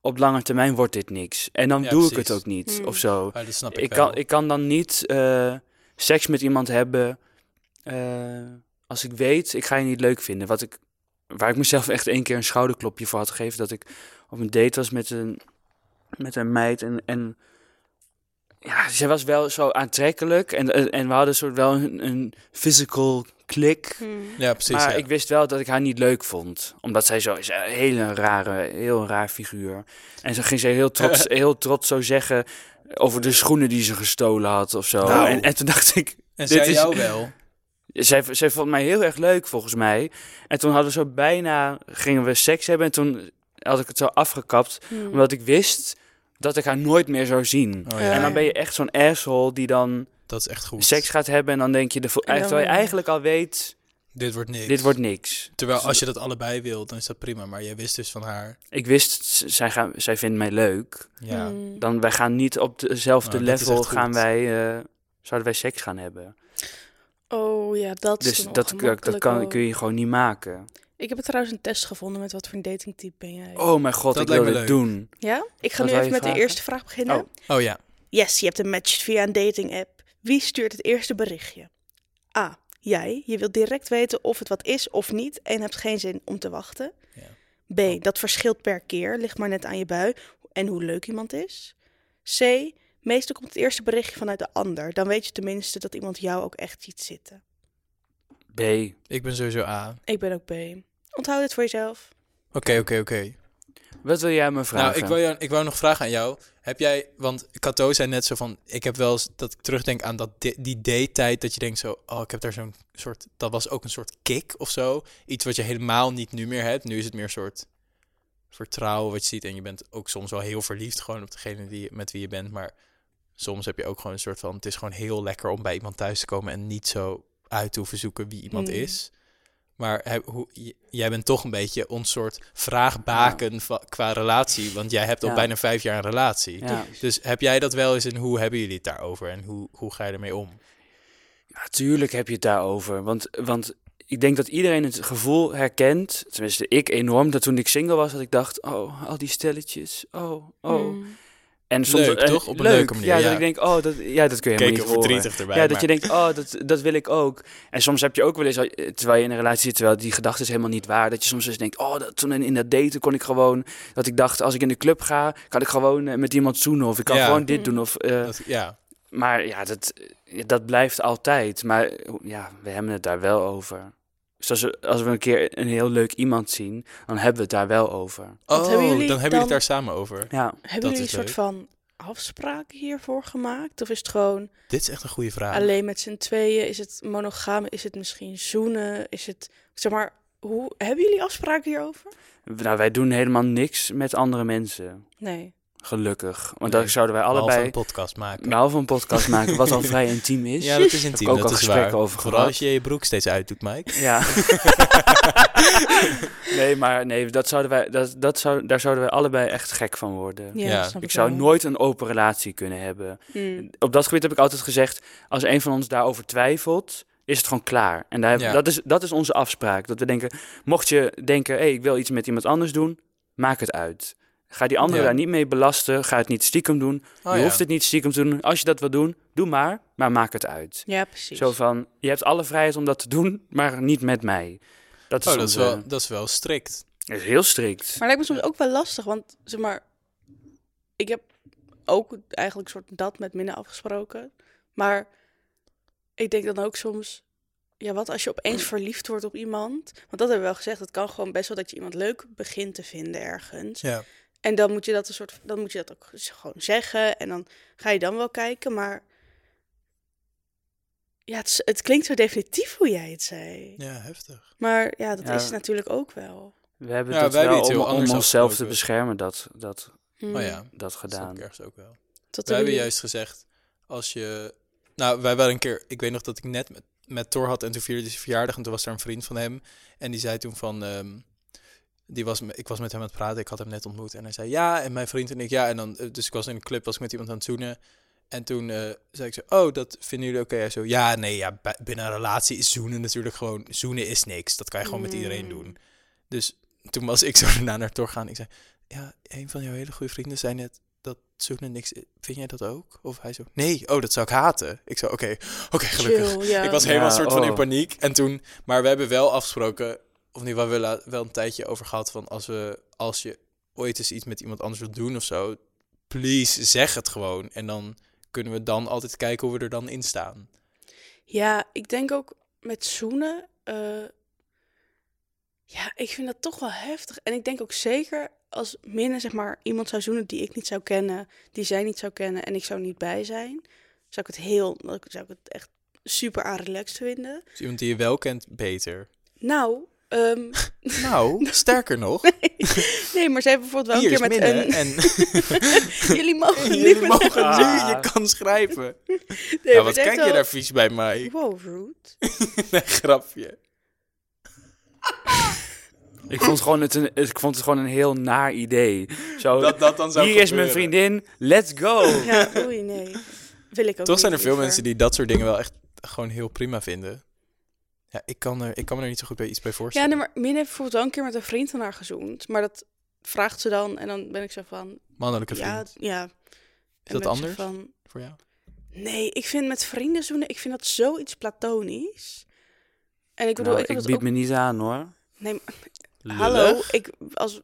[SPEAKER 3] op lange termijn wordt dit niks. En dan
[SPEAKER 1] Ja,
[SPEAKER 3] doe ik het
[SPEAKER 1] precies.
[SPEAKER 3] ook niet,
[SPEAKER 2] Hmm.
[SPEAKER 3] of zo.
[SPEAKER 1] Ah, dat snap ik,
[SPEAKER 3] Ik
[SPEAKER 1] wel.
[SPEAKER 3] kan, ik kan dan niet eh, seks met iemand hebben eh, als ik weet, ik ga je niet leuk vinden. Wat ik, waar ik mezelf echt één keer een schouderklopje voor had gegeven. Dat ik op een date was met een, met een meid en... en ja, zij was wel zo aantrekkelijk en, en we hadden soort wel een, een physical klik.
[SPEAKER 2] Hmm.
[SPEAKER 1] Ja, precies.
[SPEAKER 3] maar
[SPEAKER 1] ja.
[SPEAKER 3] ik wist wel dat ik haar niet leuk vond. Omdat zij zo is een hele rare, heel raar figuur. En ze ging ze heel trots, heel trots zo zeggen over de schoenen die ze gestolen had of zo.
[SPEAKER 1] Nou.
[SPEAKER 3] En, en toen dacht ik,
[SPEAKER 1] en
[SPEAKER 3] dit
[SPEAKER 1] zij
[SPEAKER 3] is-
[SPEAKER 1] jou wel. Oh,
[SPEAKER 3] zij, zij vond mij heel erg leuk volgens mij. En toen hadden we zo bijna, gingen we seks hebben en toen had ik het zo afgekapt.
[SPEAKER 2] Hmm.
[SPEAKER 3] Omdat ik wist dat ik haar nooit meer zou zien.
[SPEAKER 1] Oh,
[SPEAKER 2] Ja.
[SPEAKER 1] ja.
[SPEAKER 3] En dan ben je echt zo'n asshole die dan
[SPEAKER 1] Dat is echt goed.
[SPEAKER 3] seks gaat hebben en dan denk je, de, vo-
[SPEAKER 2] En dan-
[SPEAKER 3] terwijl je eigenlijk al weet,
[SPEAKER 1] Dit wordt niks.
[SPEAKER 3] dit wordt niks.
[SPEAKER 1] Terwijl als je dat allebei wilt, dan is dat prima. Maar jij wist dus van haar.
[SPEAKER 3] ik wist, z- zij, gaan, zij vindt mij leuk.
[SPEAKER 1] Ja.
[SPEAKER 2] Hmm.
[SPEAKER 3] Dan wij gaan niet op dezelfde
[SPEAKER 1] Nou, dat is
[SPEAKER 3] level,
[SPEAKER 1] echt goed.
[SPEAKER 3] gaan wij, eh, zouden wij seks gaan hebben.
[SPEAKER 2] Oh ja, dat is
[SPEAKER 3] Dus
[SPEAKER 2] dan
[SPEAKER 3] dat, dat, dat
[SPEAKER 2] ongemakkelijk
[SPEAKER 3] kan,
[SPEAKER 2] ook.
[SPEAKER 3] kun je gewoon niet maken.
[SPEAKER 2] Ik heb trouwens een test gevonden met wat voor een datingtype ben jij.
[SPEAKER 3] Oh mijn god,
[SPEAKER 1] Dat
[SPEAKER 3] ik wil
[SPEAKER 1] lijkt me
[SPEAKER 3] dit doen.
[SPEAKER 2] Ja? Ik ga
[SPEAKER 3] Wat
[SPEAKER 2] nu
[SPEAKER 3] wou
[SPEAKER 2] even
[SPEAKER 3] je
[SPEAKER 2] met de
[SPEAKER 3] vragen?
[SPEAKER 2] eerste vraag beginnen.
[SPEAKER 3] Oh.
[SPEAKER 1] Oh ja.
[SPEAKER 2] Yes, je hebt een match via een dating app. Wie stuurt het eerste berichtje? A. Jij. Je wilt direct weten of het wat is of niet en hebt geen zin om te wachten.
[SPEAKER 1] Ja.
[SPEAKER 2] B. Dat verschilt per keer, ligt maar net aan je bui en hoe leuk iemand is. C. Meestal komt het eerste berichtje vanuit de ander. Dan weet je tenminste dat iemand jou ook echt ziet zitten.
[SPEAKER 3] B.
[SPEAKER 1] Ik ben sowieso A. Oké,
[SPEAKER 2] Ik ben ook B. Onthoud dit voor jezelf.
[SPEAKER 1] oké, oké.
[SPEAKER 3] Wat wil jij me vragen?
[SPEAKER 1] Nou, ik wou, jou, ik wou nog vragen aan jou. Heb jij, want Cato zei net zo van, ik heb wel eens dat ik terugdenk aan dat di- die date-tijd dat je denkt zo, oh, ik heb daar zo'n soort, dat was ook een soort kick of zo. Iets wat je helemaal niet nu meer hebt. Nu is het meer een soort vertrouwen wat je ziet en je bent ook soms wel heel verliefd gewoon op degene die, met wie je bent, maar soms heb je ook gewoon een soort van, het is gewoon heel lekker om bij iemand thuis te komen en niet zo uit te hoeven zoeken wie iemand
[SPEAKER 2] Mm.
[SPEAKER 1] is. Maar he- hoe, j- jij bent toch een beetje ons soort vraagbaken va- qua relatie. Want jij hebt al
[SPEAKER 3] Ja.
[SPEAKER 1] bijna vijf jaar een relatie.
[SPEAKER 3] Ja.
[SPEAKER 1] Dus heb jij dat wel eens en hoe hebben jullie het daarover? En hoe, hoe ga je ermee om?
[SPEAKER 3] Natuurlijk heb je het daarover. Want, want ik denk dat iedereen het gevoel herkent, tenminste ik enorm, dat toen ik single was, dat ik dacht, oh, al die stelletjes, oh, oh.
[SPEAKER 2] Mm.
[SPEAKER 3] En
[SPEAKER 1] Leuk,
[SPEAKER 3] eh,
[SPEAKER 1] toch? Op een
[SPEAKER 3] leuk,
[SPEAKER 1] leuke manier,
[SPEAKER 3] Ja,
[SPEAKER 1] ja.
[SPEAKER 3] dat ik denk, oh, dat, ja, dat kun je helemaal
[SPEAKER 1] Keken
[SPEAKER 3] niet horen.
[SPEAKER 1] verdrietig erbij.
[SPEAKER 3] Ja, dat
[SPEAKER 1] maar-
[SPEAKER 3] je denkt, oh, dat, dat wil ik ook. En soms heb je ook wel eens, eh, terwijl je in een relatie zit, terwijl die gedachte is helemaal niet waar, dat je soms eens denkt, oh, dat, toen in, in dat daten kon ik gewoon, dat ik dacht, als ik in de club ga, kan ik gewoon eh, met iemand zoenen of ik kan
[SPEAKER 1] Ja.
[SPEAKER 3] gewoon dit
[SPEAKER 2] Mm.
[SPEAKER 3] doen. Of, eh,
[SPEAKER 1] dat- ja.
[SPEAKER 3] maar ja, dat, eh, dat blijft altijd. Maar eh, ja, we hebben het daar wel over. Dus als we, als we een keer een heel leuk iemand zien, dan hebben we het daar wel over.
[SPEAKER 2] Want
[SPEAKER 1] Oh, dan
[SPEAKER 2] hebben
[SPEAKER 1] hebben
[SPEAKER 2] jullie
[SPEAKER 1] jullie het
[SPEAKER 2] dan-
[SPEAKER 1] daar samen over.
[SPEAKER 3] Ja,
[SPEAKER 2] Hebben
[SPEAKER 1] Dat
[SPEAKER 2] jullie een
[SPEAKER 1] is
[SPEAKER 2] soort
[SPEAKER 1] leuk.
[SPEAKER 2] van afspraken hiervoor gemaakt? Of is het gewoon
[SPEAKER 1] Dit is echt een goede vraag.
[SPEAKER 2] alleen met z'n tweeën? Is het monogaam? Is het misschien zoenen? Is het, zeg maar, hoe, hebben jullie afspraken hierover?
[SPEAKER 3] nou, wij doen helemaal niks met andere mensen.
[SPEAKER 2] Nee.
[SPEAKER 3] Gelukkig. Want
[SPEAKER 1] Nee.
[SPEAKER 3] dan zouden wij
[SPEAKER 1] Behalve
[SPEAKER 3] allebei...
[SPEAKER 1] een podcast maken.
[SPEAKER 3] Nou, van een podcast maken, wat al vrij intiem is.
[SPEAKER 1] ja, dat is
[SPEAKER 3] Heb ik
[SPEAKER 1] intiem.
[SPEAKER 3] ook
[SPEAKER 1] Dat
[SPEAKER 3] al
[SPEAKER 1] is waar.
[SPEAKER 3] gesprekken over
[SPEAKER 1] Vooral
[SPEAKER 3] gehad.
[SPEAKER 1] als je je broek steeds uitdoet, Mike.
[SPEAKER 3] Ja. nee, maar nee, dat zouden wij, dat, dat zou, daar zouden wij allebei echt gek van worden.
[SPEAKER 2] Ja,
[SPEAKER 1] Ja,
[SPEAKER 2] snap
[SPEAKER 3] Ik zou
[SPEAKER 2] wel.
[SPEAKER 3] nooit een open relatie kunnen hebben.
[SPEAKER 2] Hmm.
[SPEAKER 3] Op dat gebied heb ik altijd gezegd, als een van ons daarover twijfelt, is het gewoon klaar. En daar,
[SPEAKER 1] Ja.
[SPEAKER 3] dat, is, dat is onze afspraak. Dat we denken, mocht je denken, hey, ik wil iets met iemand anders doen, maak het uit. Ga die andere
[SPEAKER 1] Ja.
[SPEAKER 3] daar niet mee belasten, ga het niet stiekem doen.
[SPEAKER 1] Oh,
[SPEAKER 3] je
[SPEAKER 1] ja.
[SPEAKER 3] hoeft het niet stiekem te doen. Als je dat wil doen, doe maar, maar maak het uit.
[SPEAKER 2] Ja, precies.
[SPEAKER 3] Zo van, je hebt alle vrijheid om dat te doen, maar niet met mij. Dat is,
[SPEAKER 1] Oh, dat is
[SPEAKER 3] onze-
[SPEAKER 1] wel, dat is wel strikt.
[SPEAKER 3] dat is heel strikt.
[SPEAKER 2] Maar het lijkt me soms ook wel lastig, want zeg maar, ik heb ook eigenlijk soort dat met minder afgesproken. Maar ik denk dan ook soms, ja, wat als je opeens verliefd wordt op iemand? Want dat hebben we wel gezegd, het kan gewoon best wel dat je iemand leuk begint te vinden ergens.
[SPEAKER 1] Ja.
[SPEAKER 2] En dan moet je dat een soort, dan moet je dat ook z- gewoon zeggen en dan ga je dan wel kijken, maar ja, het, is- het klinkt zo definitief hoe jij het zei.
[SPEAKER 1] Ja, heftig.
[SPEAKER 2] Maar ja, dat
[SPEAKER 3] Ja.
[SPEAKER 2] is natuurlijk ook wel.
[SPEAKER 3] We hebben
[SPEAKER 1] Ja,
[SPEAKER 3] dat
[SPEAKER 1] wij
[SPEAKER 3] wel
[SPEAKER 1] hebben iets
[SPEAKER 3] om,
[SPEAKER 1] heel
[SPEAKER 3] om
[SPEAKER 1] anders
[SPEAKER 3] onszelf te
[SPEAKER 1] afgesproken.
[SPEAKER 3] beschermen, dat, dat,
[SPEAKER 2] Hmm.
[SPEAKER 1] Oh ja,
[SPEAKER 3] dat
[SPEAKER 1] dat snap
[SPEAKER 3] gedaan.
[SPEAKER 1] ik ergens ook wel.
[SPEAKER 2] Tot
[SPEAKER 1] Wij hebben
[SPEAKER 2] jullie-
[SPEAKER 1] juist gezegd, als je... Nou, wij wel een keer... Ik weet nog dat ik net met, met Thor had en toen vierde hij zijn verjaardag. En toen was daar een vriend van hem. En die zei toen van... ehm, die was, me- ik was met hem aan het praten, ik had hem net ontmoet. En hij zei ja, en mijn vriend en ik ja. En dan, eh, dus ik was in een club, was ik met iemand aan het zoenen. En toen eh, zei ik zo, oh, dat vinden jullie oké? Hij zo, ja, nee, ja, bij- binnen een relatie is zoenen natuurlijk gewoon... Zoenen is niks, dat kan je gewoon met iedereen
[SPEAKER 2] Mm.
[SPEAKER 1] doen. Dus toen was ik zo daarna naar Thor gaan. Ik zei, ja, een van jouw hele goede vrienden zei net dat zoenen niks... i- Vind jij dat ook? Of hij zo, nee, oh, dat zou ik haten. Ik zo, oké, oké, gelukkig.
[SPEAKER 2] Chill, ja.
[SPEAKER 1] Ik was helemaal
[SPEAKER 3] Ja,
[SPEAKER 1] een soort van in
[SPEAKER 3] oh.
[SPEAKER 1] paniek. En toen, maar we hebben wel afgesproken, of niet, we hebben la- wel een tijdje over gehad van als we, als je ooit eens iets met iemand anders wilt doen of zo, please zeg het gewoon. En dan kunnen we dan altijd kijken hoe we er dan in staan.
[SPEAKER 2] Ja, ik denk ook met zoenen. eh, ja, ik vind dat toch wel heftig. En ik denk ook zeker als minder zeg maar, iemand zou zoenen die ik niet zou kennen, die zij niet zou kennen en ik zou niet bij zijn, zou ik het heel, zou ik het echt super aan relaxed vinden.
[SPEAKER 1] Dus iemand die je wel kent, beter.
[SPEAKER 2] Nou, ehm,
[SPEAKER 1] Nou, sterker nog,
[SPEAKER 2] nee, maar zij hebben bijvoorbeeld wel
[SPEAKER 1] hier
[SPEAKER 2] een
[SPEAKER 1] is
[SPEAKER 2] keer met
[SPEAKER 1] midden
[SPEAKER 2] een.
[SPEAKER 1] en
[SPEAKER 2] jullie mogen niet
[SPEAKER 1] jullie
[SPEAKER 2] met-
[SPEAKER 1] mogen nu
[SPEAKER 3] Ah.
[SPEAKER 1] je kan schrijven.
[SPEAKER 2] Nee,
[SPEAKER 1] nou,
[SPEAKER 2] maar
[SPEAKER 1] wat
[SPEAKER 2] zij
[SPEAKER 1] kijk
[SPEAKER 2] heeft
[SPEAKER 1] je
[SPEAKER 2] wel-
[SPEAKER 1] daar vies bij mij?
[SPEAKER 2] Wow, rude.
[SPEAKER 1] Nee, grapje.
[SPEAKER 3] Ik vond, het gewoon het een, ik vond het gewoon een heel naar idee. Zo,
[SPEAKER 1] Dat dat dan
[SPEAKER 3] hier
[SPEAKER 1] zou
[SPEAKER 3] is mijn
[SPEAKER 1] gebeuren.
[SPEAKER 3] vriendin, let's go.
[SPEAKER 2] Ja, oei, nee. Wil ik ook
[SPEAKER 1] Toch zijn er veel
[SPEAKER 2] niet, liever.
[SPEAKER 1] mensen die dat soort dingen wel echt gewoon heel prima vinden. Ja, ik kan, er, ik kan me er niet zo goed bij iets bij
[SPEAKER 2] Ja,
[SPEAKER 1] voorstellen.
[SPEAKER 2] nee, maar Min heeft bijvoorbeeld wel een keer met een vriend van haar gezoend. Maar dat vraagt ze dan en dan ben ik zo van...
[SPEAKER 1] Mannelijke vriend.
[SPEAKER 2] Ja, ja.
[SPEAKER 1] is dat anders
[SPEAKER 2] Van,
[SPEAKER 1] voor jou?
[SPEAKER 2] nee, ik vind met vrienden zoenen, ik vind dat zoiets platonisch. En ik bedoel,
[SPEAKER 3] Nou,
[SPEAKER 2] ik, heb
[SPEAKER 3] ik
[SPEAKER 2] dat
[SPEAKER 3] bied
[SPEAKER 2] ook...
[SPEAKER 3] me niet aan hoor.
[SPEAKER 2] Nee, maar- hallo, ik, als,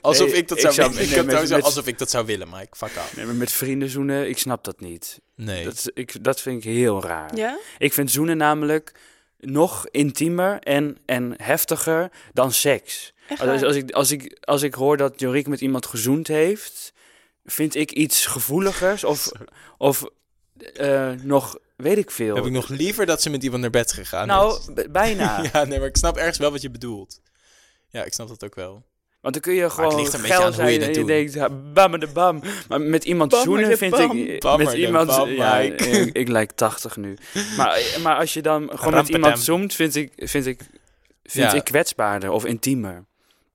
[SPEAKER 1] Alsof
[SPEAKER 3] Nee,
[SPEAKER 1] ik dat
[SPEAKER 3] ik
[SPEAKER 1] zou
[SPEAKER 3] zou-
[SPEAKER 1] willen. Ik
[SPEAKER 3] nee,
[SPEAKER 1] kan
[SPEAKER 3] met-
[SPEAKER 1] trouwens wel-
[SPEAKER 3] met-
[SPEAKER 1] Alsof ik dat zou willen, Mike. Fuck af.
[SPEAKER 3] Nee, maar met vrienden zoenen, ik snap dat niet.
[SPEAKER 1] Nee.
[SPEAKER 3] Dat, is- ik, dat vind ik heel raar.
[SPEAKER 2] ja?
[SPEAKER 1] Oh,
[SPEAKER 3] Ik vind zoenen namelijk nog intiemer en, en heftiger dan seks.
[SPEAKER 2] Echt
[SPEAKER 3] Als,
[SPEAKER 1] dus
[SPEAKER 2] waar?
[SPEAKER 3] Oh, dus als, ik, als, ik, als ik hoor dat Jorik met iemand gezoend heeft, vind ik iets gevoeligers of, of eh, nog, weet ik veel.
[SPEAKER 1] Heb ik nog liever dat ze met iemand naar bed gegaan is.
[SPEAKER 3] nou, b- bijna.
[SPEAKER 1] Ja, nee, maar ik snap ergens wel wat je bedoelt. Ja, ik snap dat ook wel.
[SPEAKER 3] Want dan kun je gewoon
[SPEAKER 1] ligt een beetje
[SPEAKER 3] geil
[SPEAKER 1] aan hoe je
[SPEAKER 3] zijn
[SPEAKER 1] dit
[SPEAKER 3] en je
[SPEAKER 1] doet.
[SPEAKER 3] denkt, ja, bammer de bam. Maar met iemand
[SPEAKER 2] Bammer de
[SPEAKER 3] zoenen vind
[SPEAKER 2] bam.
[SPEAKER 3] ik... eh,
[SPEAKER 1] Bammer
[SPEAKER 3] met
[SPEAKER 1] de
[SPEAKER 3] iemand,
[SPEAKER 1] bam,
[SPEAKER 3] ja,
[SPEAKER 1] Mike.
[SPEAKER 3] ik, ik lijk 80 nu. Maar, maar als je dan gewoon met
[SPEAKER 1] Rampetem.
[SPEAKER 3] iemand zoomt, vind ik, vind ik, vind
[SPEAKER 1] Ja.
[SPEAKER 3] ik kwetsbaarder of intiemer.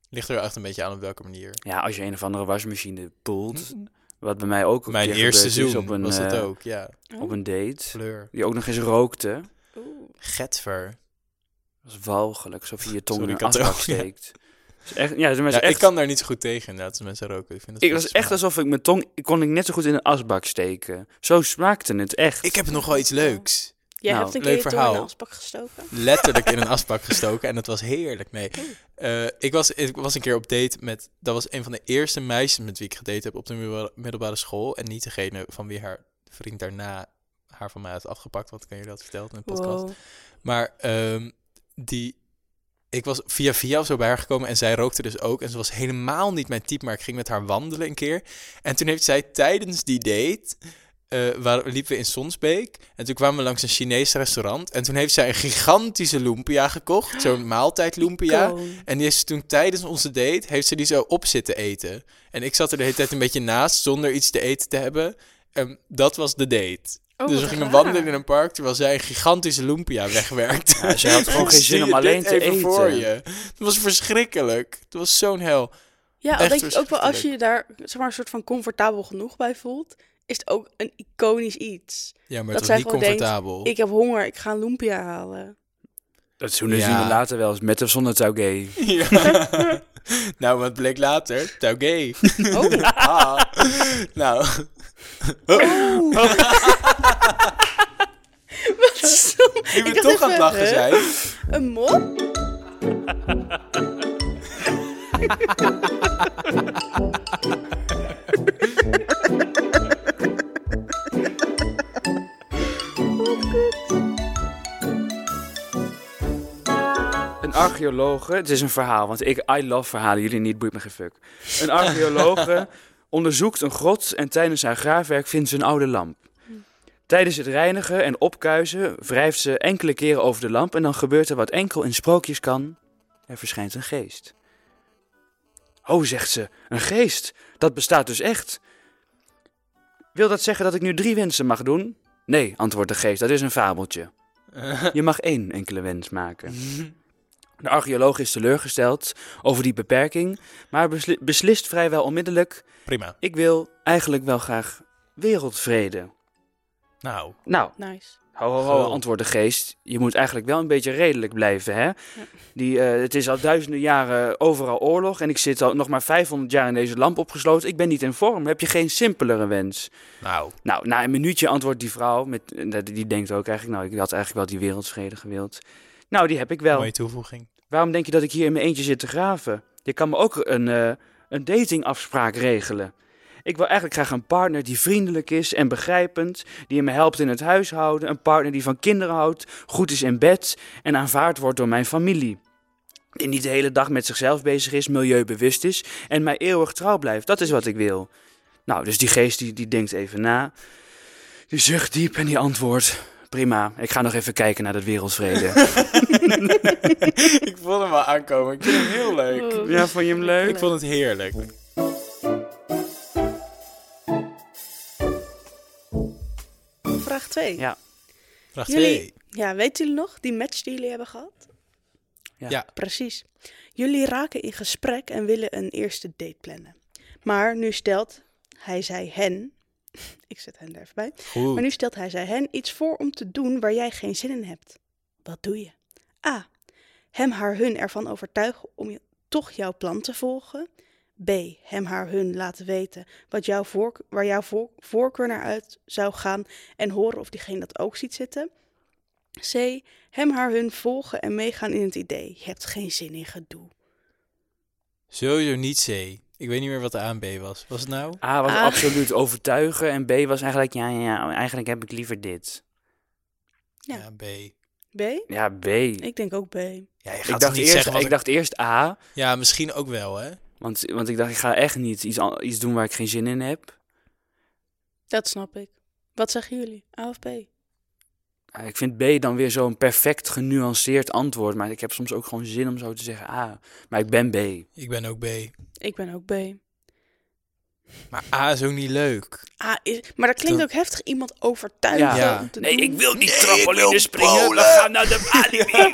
[SPEAKER 1] Ligt er echt een beetje aan op welke manier.
[SPEAKER 3] Ja, als je een of andere wasmachine poelt, wat bij mij ook een
[SPEAKER 1] Hm. Mijn
[SPEAKER 3] keer
[SPEAKER 1] eerste
[SPEAKER 3] gebeurd is
[SPEAKER 1] zoen
[SPEAKER 3] op een,
[SPEAKER 1] was dat
[SPEAKER 3] eh,
[SPEAKER 1] ook, ja.
[SPEAKER 3] op een date,
[SPEAKER 1] Fleur.
[SPEAKER 3] die ook nog eens rookte.
[SPEAKER 2] Oh, Oeh.
[SPEAKER 1] Getver.
[SPEAKER 3] Dat is walgelijk, alsof je je tong
[SPEAKER 1] Sorry,
[SPEAKER 3] in
[SPEAKER 1] ik
[SPEAKER 3] een
[SPEAKER 1] had er
[SPEAKER 3] asbak
[SPEAKER 1] ook- ja.
[SPEAKER 3] steekt. Dat is echt, ja, dat is
[SPEAKER 1] Ja,
[SPEAKER 3] echt,
[SPEAKER 1] ik kan daar niet zo goed tegen inderdaad, als mensen roken. Ik vind dat
[SPEAKER 3] ik
[SPEAKER 1] best
[SPEAKER 3] was echt
[SPEAKER 1] smaak.
[SPEAKER 3] alsof ik mijn tong kon ik net zo goed in een asbak steken. Zo smaakte het echt.
[SPEAKER 1] Ik heb nog wel iets leuks.
[SPEAKER 2] Jij
[SPEAKER 3] Nou,
[SPEAKER 2] hebt een
[SPEAKER 1] leuk
[SPEAKER 2] keer je tong in
[SPEAKER 1] verhaal.
[SPEAKER 2] een asbak gestoken?
[SPEAKER 1] Letterlijk in een asbak gestoken en dat was heerlijk. Nee, Eh, ik, was, ik was een keer op date met... Dat was een van de eerste meisjes met wie ik gedate heb op de middelbare- middelbare school. En niet degene van wie haar vriend daarna haar van mij had afgepakt. Want ik kan jullie dat verteld in de podcast.
[SPEAKER 2] Wow.
[SPEAKER 1] Maar ehm, die. Ik was via via of zo bij haar gekomen en zij rookte dus ook. En ze was helemaal niet mijn type, maar ik ging met haar wandelen een keer. En toen heeft zij tijdens die date, eh, waar, liepen we in Sonsbeek. En toen kwamen we langs een Chinees restaurant. En toen heeft zij een gigantische lumpia gekocht, zo'n maaltijd lumpia.
[SPEAKER 2] Gewoon.
[SPEAKER 1] En die is ze toen tijdens onze date, heeft ze die zo op zitten eten. En ik zat er de hele tijd een beetje naast, zonder iets te eten te hebben. En dat was de date.
[SPEAKER 2] Oh,
[SPEAKER 1] dus
[SPEAKER 2] wat
[SPEAKER 1] we gingen
[SPEAKER 2] raar.
[SPEAKER 1] wandelen in een park, terwijl zij een gigantische lumpia wegwerkte.
[SPEAKER 3] Ja, ze had gewoon geen
[SPEAKER 1] Zie
[SPEAKER 3] zin
[SPEAKER 1] je
[SPEAKER 3] om alleen
[SPEAKER 1] dit
[SPEAKER 3] te
[SPEAKER 1] even
[SPEAKER 3] eten.
[SPEAKER 1] voor je. Het was verschrikkelijk. Het was zo'n hel.
[SPEAKER 2] Ja, al
[SPEAKER 1] Echt
[SPEAKER 2] denk ik ook wel als je
[SPEAKER 1] verschrikkelijk.
[SPEAKER 2] je daar zeg maar, een soort van comfortabel genoeg bij voelt, is het ook een iconisch iets.
[SPEAKER 1] Ja, maar
[SPEAKER 2] Dat
[SPEAKER 1] het was
[SPEAKER 2] zij
[SPEAKER 1] niet
[SPEAKER 2] gewoon denkt,
[SPEAKER 1] comfortabel.
[SPEAKER 2] Ik heb honger, ik ga een lumpia halen.
[SPEAKER 3] Dat zoenen
[SPEAKER 1] Ja.
[SPEAKER 3] zien we later wel eens met of zonder touwgay.
[SPEAKER 1] Ja. nou, wat bleek later? Touw gay.
[SPEAKER 2] Oh,
[SPEAKER 1] Ah. nou,
[SPEAKER 2] wat stom.
[SPEAKER 1] je
[SPEAKER 2] dacht
[SPEAKER 1] bent toch aan het
[SPEAKER 2] even,
[SPEAKER 1] lachen
[SPEAKER 2] huh?
[SPEAKER 1] zijn.
[SPEAKER 2] Een mop?
[SPEAKER 3] Een archeologe, het is een verhaal, want ik I love verhalen, jullie niet, boeit me geen fuck. Een archeologe onderzoekt een grot en tijdens haar graafwerk vindt ze een oude lamp. Tijdens het reinigen en opkuisen wrijft ze enkele keren over de lamp en dan gebeurt er wat enkel in sprookjes kan. Er verschijnt een geest. Oh, zegt ze, een geest. Dat bestaat dus echt. Wil dat zeggen dat ik nu drie wensen mag doen? Nee, antwoordt de geest, dat is een fabeltje. Je mag één enkele wens maken. De archeoloog is teleurgesteld over die beperking, maar besli- beslist vrijwel onmiddellijk:
[SPEAKER 1] Prima.
[SPEAKER 3] ik wil eigenlijk wel graag wereldvrede.
[SPEAKER 1] Nou,
[SPEAKER 3] Nou,
[SPEAKER 2] Nice.
[SPEAKER 3] ho ho ho,
[SPEAKER 1] Goh.
[SPEAKER 3] antwoordt de geest. Je moet eigenlijk wel een beetje redelijk blijven, hè? Die, eh, het is al duizenden jaren overal oorlog en ik zit al nog maar 500 jaar in deze lamp opgesloten. Ik ben niet in vorm. Heb je geen simpelere wens?
[SPEAKER 1] nou.
[SPEAKER 3] Nou, na een minuutje antwoordt die vrouw, met, eh, die denkt ook eigenlijk: nou, ik had eigenlijk wel die wereldvrede gewild. Nou, die heb ik wel.
[SPEAKER 1] Mooie toevoeging.
[SPEAKER 3] Waarom denk je dat ik hier in mijn eentje zit te graven? Je kan me ook een, eh, een datingafspraak regelen. Ik wil eigenlijk graag een partner die vriendelijk is en begrijpend, die me helpt in het huishouden, een partner die van kinderen houdt, goed is in bed en aanvaard wordt door mijn familie. Die niet de hele dag met zichzelf bezig is, milieubewust is en mij eeuwig trouw blijft. Dat is wat ik wil. Nou, dus die geest die, die denkt even na. Die zucht diep en die antwoordt. Prima, ik ga nog even kijken naar dat wereldvrede.
[SPEAKER 1] ik vond hem wel aankomen. Ik vind hem heel leuk.
[SPEAKER 2] Oh,
[SPEAKER 3] ja, vond je hem leuk?
[SPEAKER 1] Ik vond het heerlijk.
[SPEAKER 2] Vraag 2.
[SPEAKER 3] Ja.
[SPEAKER 1] Vraag
[SPEAKER 2] Jullie-
[SPEAKER 1] 2.
[SPEAKER 2] Ja, weten jullie nog die match die jullie hebben gehad?
[SPEAKER 3] Ja.
[SPEAKER 1] Ja.
[SPEAKER 2] Precies. Jullie raken in gesprek en willen een eerste date plannen. Maar nu stelt hij zij hen... Ik zet hen er even bij.
[SPEAKER 1] Goed.
[SPEAKER 2] Maar nu stelt hij zij hen iets voor om te doen waar jij geen zin in hebt. Wat doe je? A. Hem haar hun ervan overtuigen om je, toch jouw plan te volgen. B. Hem haar hun laten weten wat jouw voork- waar jouw voor- voorkeur naar uit zou gaan en horen of diegene dat ook ziet zitten. C. Hem haar hun volgen en meegaan in het idee. Je hebt geen zin in gedoe.
[SPEAKER 1] Sowieso niet C. Ik weet niet meer wat de A en B was. Was het nou?
[SPEAKER 3] A was
[SPEAKER 2] A.
[SPEAKER 3] absoluut overtuigen en B was eigenlijk, ja, ja, ja, eigenlijk heb ik liever dit.
[SPEAKER 2] Ja.
[SPEAKER 1] B.
[SPEAKER 2] B.
[SPEAKER 3] Ja, B. Ik,
[SPEAKER 2] Ik denk ook B.
[SPEAKER 1] Ja, je gaat toch
[SPEAKER 3] dacht,
[SPEAKER 1] niet
[SPEAKER 3] eerst,
[SPEAKER 1] zeggen wat
[SPEAKER 3] ik dacht eerst A,
[SPEAKER 1] Ja, misschien ook wel, hè?
[SPEAKER 3] want, want ik dacht, ik ga echt niet iets, an- iets doen waar ik geen zin in heb.
[SPEAKER 2] Dat snap ik. Wat zeggen jullie? A of B?
[SPEAKER 3] Ja, Eh, Ik vind B dan weer zo'n perfect genuanceerd antwoord, maar ik heb soms ook gewoon zin om zo te zeggen A. Maar ik ben B.
[SPEAKER 1] Ik ben ook B.
[SPEAKER 2] Ik ben ook B.
[SPEAKER 1] Maar A is ook niet leuk.
[SPEAKER 2] Ah, is, maar dat klinkt
[SPEAKER 1] Toen-
[SPEAKER 2] ook heftig. Iemand overtuigen.
[SPEAKER 1] Ja.
[SPEAKER 2] om te
[SPEAKER 3] Nee,
[SPEAKER 2] doen.
[SPEAKER 3] ik wil niet
[SPEAKER 1] ik wil
[SPEAKER 3] trampoline springen,
[SPEAKER 1] bowlen.
[SPEAKER 3] we gaan naar de alibi.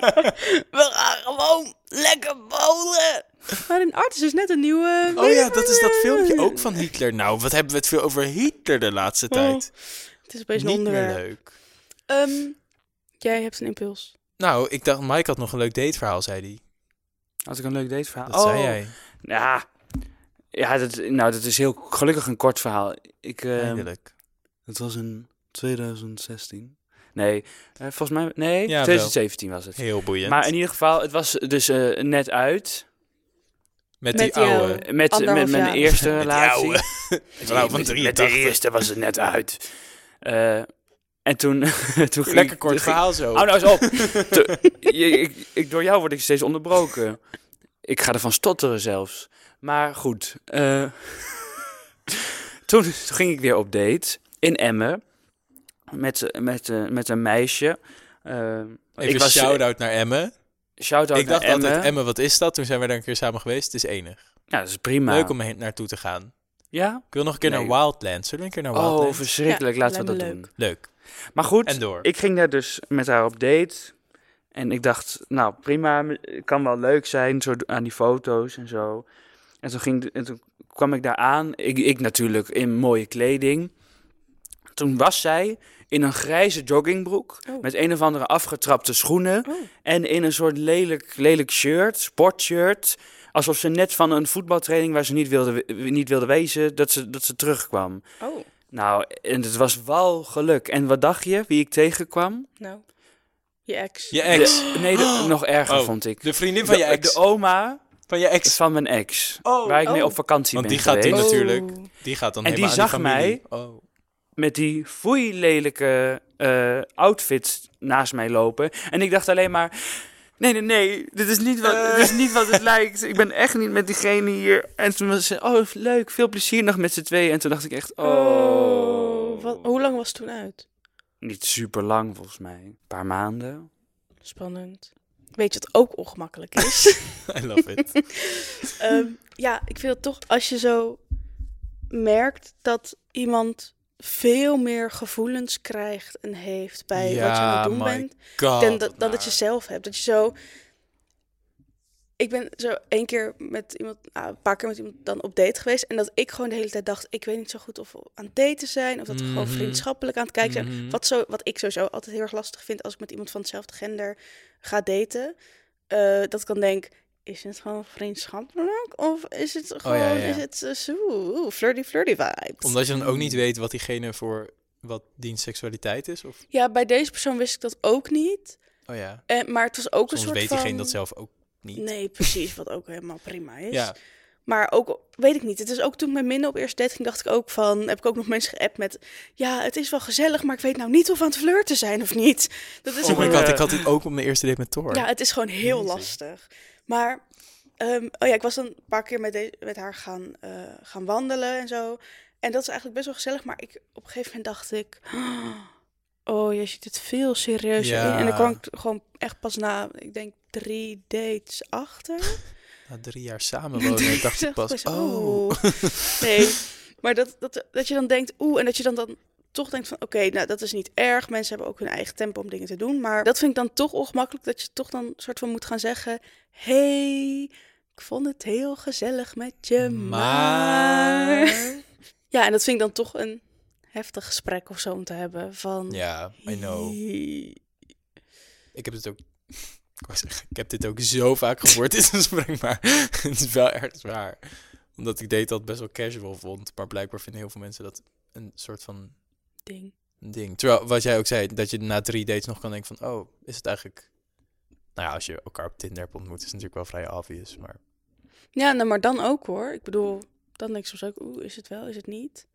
[SPEAKER 2] We gaan gewoon lekker bowlen. Maar in Artis is net een nieuwe...
[SPEAKER 1] Oh ja, dat is dat filmpje ook van Hitler. Nou, wat hebben we het veel over Hitler de laatste
[SPEAKER 3] Oh.
[SPEAKER 1] tijd?
[SPEAKER 2] Het is opeens een
[SPEAKER 1] niet meer
[SPEAKER 2] onderwerp.
[SPEAKER 1] leuk.
[SPEAKER 2] Ehm, jij hebt een impuls.
[SPEAKER 1] Nou, ik dacht, Mike had nog een leuk dateverhaal, zei hij.
[SPEAKER 3] Had ik een leuk dateverhaal?
[SPEAKER 1] Dat zei jij.
[SPEAKER 3] Ja, ja dat, nou, dat is heel gelukkig een kort verhaal. Ik, ehm,
[SPEAKER 1] Eindelijk.
[SPEAKER 3] Het was in 2016. Nee, eh, volgens mij. Nee,
[SPEAKER 1] Ja, wel.
[SPEAKER 3] 2017 was het.
[SPEAKER 1] Heel boeiend.
[SPEAKER 3] Maar in ieder geval, het was dus eh, net uit.
[SPEAKER 1] met,
[SPEAKER 2] Met
[SPEAKER 1] die
[SPEAKER 2] jou. eh,
[SPEAKER 1] oude.
[SPEAKER 3] Met, met
[SPEAKER 2] Anderhalf
[SPEAKER 3] mijn
[SPEAKER 2] jaar.
[SPEAKER 3] eerste
[SPEAKER 1] Met die
[SPEAKER 3] relatie. e-
[SPEAKER 1] oude. Vrouw van
[SPEAKER 3] Met- Met de
[SPEAKER 1] 83.
[SPEAKER 3] eerste was het net uit. Eh, en toen, toen ging
[SPEAKER 1] Lekker
[SPEAKER 3] toen
[SPEAKER 1] kort
[SPEAKER 3] ging-
[SPEAKER 1] verhaal zo.
[SPEAKER 3] Hou nou eens op. Te- je- ik, ik, door jou word ik steeds onderbroken. Ik ga ervan stotteren zelfs. Maar goed. eh, toen ging ik weer op date in Emmen. Met, met, eh, met een meisje. Eh,
[SPEAKER 1] Even een shout-out naar Emme.
[SPEAKER 3] shout-out
[SPEAKER 1] Ik dacht
[SPEAKER 3] naar Emmen.
[SPEAKER 1] altijd, Emme, wat is dat? Toen zijn we daar een keer samen geweest. Het is enig.
[SPEAKER 3] Ja, dat is prima.
[SPEAKER 1] Leuk om heen naartoe te gaan.
[SPEAKER 3] Ja?
[SPEAKER 1] Ik wil nog een keer
[SPEAKER 3] Nou. Nee.
[SPEAKER 1] naar Wildlands. Zullen we een keer naar
[SPEAKER 3] Oh,
[SPEAKER 1] Wildlands?
[SPEAKER 3] verschrikkelijk.
[SPEAKER 2] Ja,
[SPEAKER 3] Laten we dat
[SPEAKER 2] lijkt me
[SPEAKER 3] doen.
[SPEAKER 1] Leuk.
[SPEAKER 3] Maar goed,
[SPEAKER 1] Nou, En door.
[SPEAKER 3] ik ging daar dus met haar op date. En ik dacht, nou prima, het kan wel leuk zijn, zo aan die foto's en zo. En toen, ging, en toen kwam ik daar aan, ik, ik natuurlijk in mooie kleding. Toen was zij in een grijze joggingbroek,
[SPEAKER 2] Oh.
[SPEAKER 3] met een of andere afgetrapte schoenen.
[SPEAKER 2] Oh.
[SPEAKER 3] En in een soort lelijk, lelijk shirt, sportshirt. Alsof ze net van een voetbaltraining waar ze niet wilde, we- niet wilde wezen, dat ze, dat ze terugkwam.
[SPEAKER 2] Oh,
[SPEAKER 3] Nou, en het was wel geluk. En wat dacht je, wie ik tegenkwam?
[SPEAKER 2] nou. Je ex.
[SPEAKER 1] Je ex.
[SPEAKER 3] De- nee, de- nog erger
[SPEAKER 1] Oh,
[SPEAKER 3] vond ik.
[SPEAKER 1] De vriendin van je
[SPEAKER 3] De-
[SPEAKER 1] ex.
[SPEAKER 3] De oma
[SPEAKER 1] van je ex.
[SPEAKER 3] van mijn ex.
[SPEAKER 1] Oh.
[SPEAKER 3] waar ik mee
[SPEAKER 2] Oh.
[SPEAKER 3] op vakantie
[SPEAKER 1] Want
[SPEAKER 3] ben
[SPEAKER 1] die gaat toen
[SPEAKER 3] geweest.
[SPEAKER 1] natuurlijk. Die gaat dan
[SPEAKER 3] En die
[SPEAKER 1] helemaal aan
[SPEAKER 3] zag
[SPEAKER 1] familie. Oh.
[SPEAKER 3] Met die foei lelijke eh, outfit naast mij lopen. En ik dacht alleen maar... Nee, nee, nee. Dit is niet wat, dit is niet wat het lijkt. Ik ben echt niet met diegene hier. En toen was ze... Oh, leuk. Veel plezier nog met z'n tweeën. En toen dacht ik echt...
[SPEAKER 2] Oh.
[SPEAKER 3] Oh...
[SPEAKER 2] Wat, hoe lang was het toen uit?
[SPEAKER 3] Niet super lang, volgens mij. Een paar maanden.
[SPEAKER 2] Spannend. Weet je wat ook ongemakkelijk is?
[SPEAKER 1] I love it.
[SPEAKER 2] Ehm, ja, ik vind het toch als je zo merkt dat iemand veel meer gevoelens krijgt en heeft bij wat je aan
[SPEAKER 1] Ja,
[SPEAKER 2] het doen
[SPEAKER 1] my
[SPEAKER 2] bent,
[SPEAKER 1] God,
[SPEAKER 2] dan, dat,
[SPEAKER 1] wat
[SPEAKER 2] dan dat je
[SPEAKER 1] naar.
[SPEAKER 2] zelf hebt. Dat je zo... Ik ben zo één keer met iemand, ah, een paar keer met iemand dan op date geweest. En dat ik gewoon de hele tijd dacht, ik weet niet zo goed of we aan het daten zijn. Of dat we gewoon
[SPEAKER 1] Mhm.
[SPEAKER 2] vriendschappelijk aan het kijken zijn.
[SPEAKER 1] Mhm.
[SPEAKER 2] Wat, zo, wat ik sowieso altijd heel erg lastig vind als ik met iemand van hetzelfde gender ga daten. eh, dat ik dan denk, is het gewoon vriendschappelijk? Of is het gewoon,
[SPEAKER 1] Oh, ja, ja.
[SPEAKER 2] is het eh, zo, oeh, flirty flirty vibes?
[SPEAKER 1] nou. Omdat je dan ook
[SPEAKER 2] Mm.
[SPEAKER 1] niet weet wat diegene voor wat diens seksualiteit is. Of...
[SPEAKER 2] Ja, bij deze persoon wist ik dat ook niet.
[SPEAKER 1] Oh ja.
[SPEAKER 2] Eh, maar het was ook
[SPEAKER 1] Soms
[SPEAKER 2] een soort
[SPEAKER 1] weet
[SPEAKER 2] van...
[SPEAKER 1] diegene dat zelf ook niet.
[SPEAKER 2] Nee, precies, wat ook helemaal prima is.
[SPEAKER 1] Ja.
[SPEAKER 2] Maar ook, weet ik niet. Het is ook toen ik met Minne op eerste date ging, dacht ik ook van... heb ik ook nog mensen geappt met... ja, het is wel gezellig, maar ik weet nou niet of we aan het flirten zijn of niet. Dat is
[SPEAKER 1] Oh my
[SPEAKER 2] gewoon-
[SPEAKER 1] god, ik had dit ook om de eerste date met Thor.
[SPEAKER 2] ja, het is gewoon heel
[SPEAKER 1] Jezus.
[SPEAKER 2] lastig. Maar, ehm, oh ja, ik was dan een paar keer met, deze- met haar gaan, eh, gaan wandelen en zo. En dat is eigenlijk best wel gezellig. Maar ik, op een gegeven moment dacht ik... Oh, jij ziet het veel serieuzer
[SPEAKER 1] Ja.
[SPEAKER 2] in. En dan kwam ik gewoon echt pas na, ik denk, drie dates achter.
[SPEAKER 1] Na drie jaar samenwonen dacht ik pas, oh.
[SPEAKER 2] Nee, maar dat, dat, dat je dan denkt, oeh, en dat je dan, dan toch denkt van, oké, nou dat is niet erg. Mensen hebben ook hun eigen tempo om dingen te doen. Maar dat vind ik dan toch ongemakkelijk, dat je toch dan soort van moet gaan zeggen, hey, ik vond het heel gezellig met je, maar... Ja, en dat vind ik dan toch een heftig gesprek of zo om te hebben van...
[SPEAKER 1] Ja, I know.
[SPEAKER 2] "Hey."
[SPEAKER 1] Ik heb dit ook... Ik, wou zeggen, ik heb dit ook zo vaak gehoord in een spring, maar het is wel erg zwaar. Omdat ik date dat best wel casual vond, maar blijkbaar vinden heel veel mensen dat een soort van
[SPEAKER 2] Ding.
[SPEAKER 1] ding. Terwijl, wat jij ook zei, dat je na drie dates nog kan denken van, oh, is het eigenlijk... Nou ja, als je elkaar op Tinder hebt ontmoet, is het natuurlijk wel vrij obvious, maar...
[SPEAKER 2] Ja, nou, maar dan ook hoor. Ik bedoel, dan denk ik soms ook, oeh, is het wel, is het niet?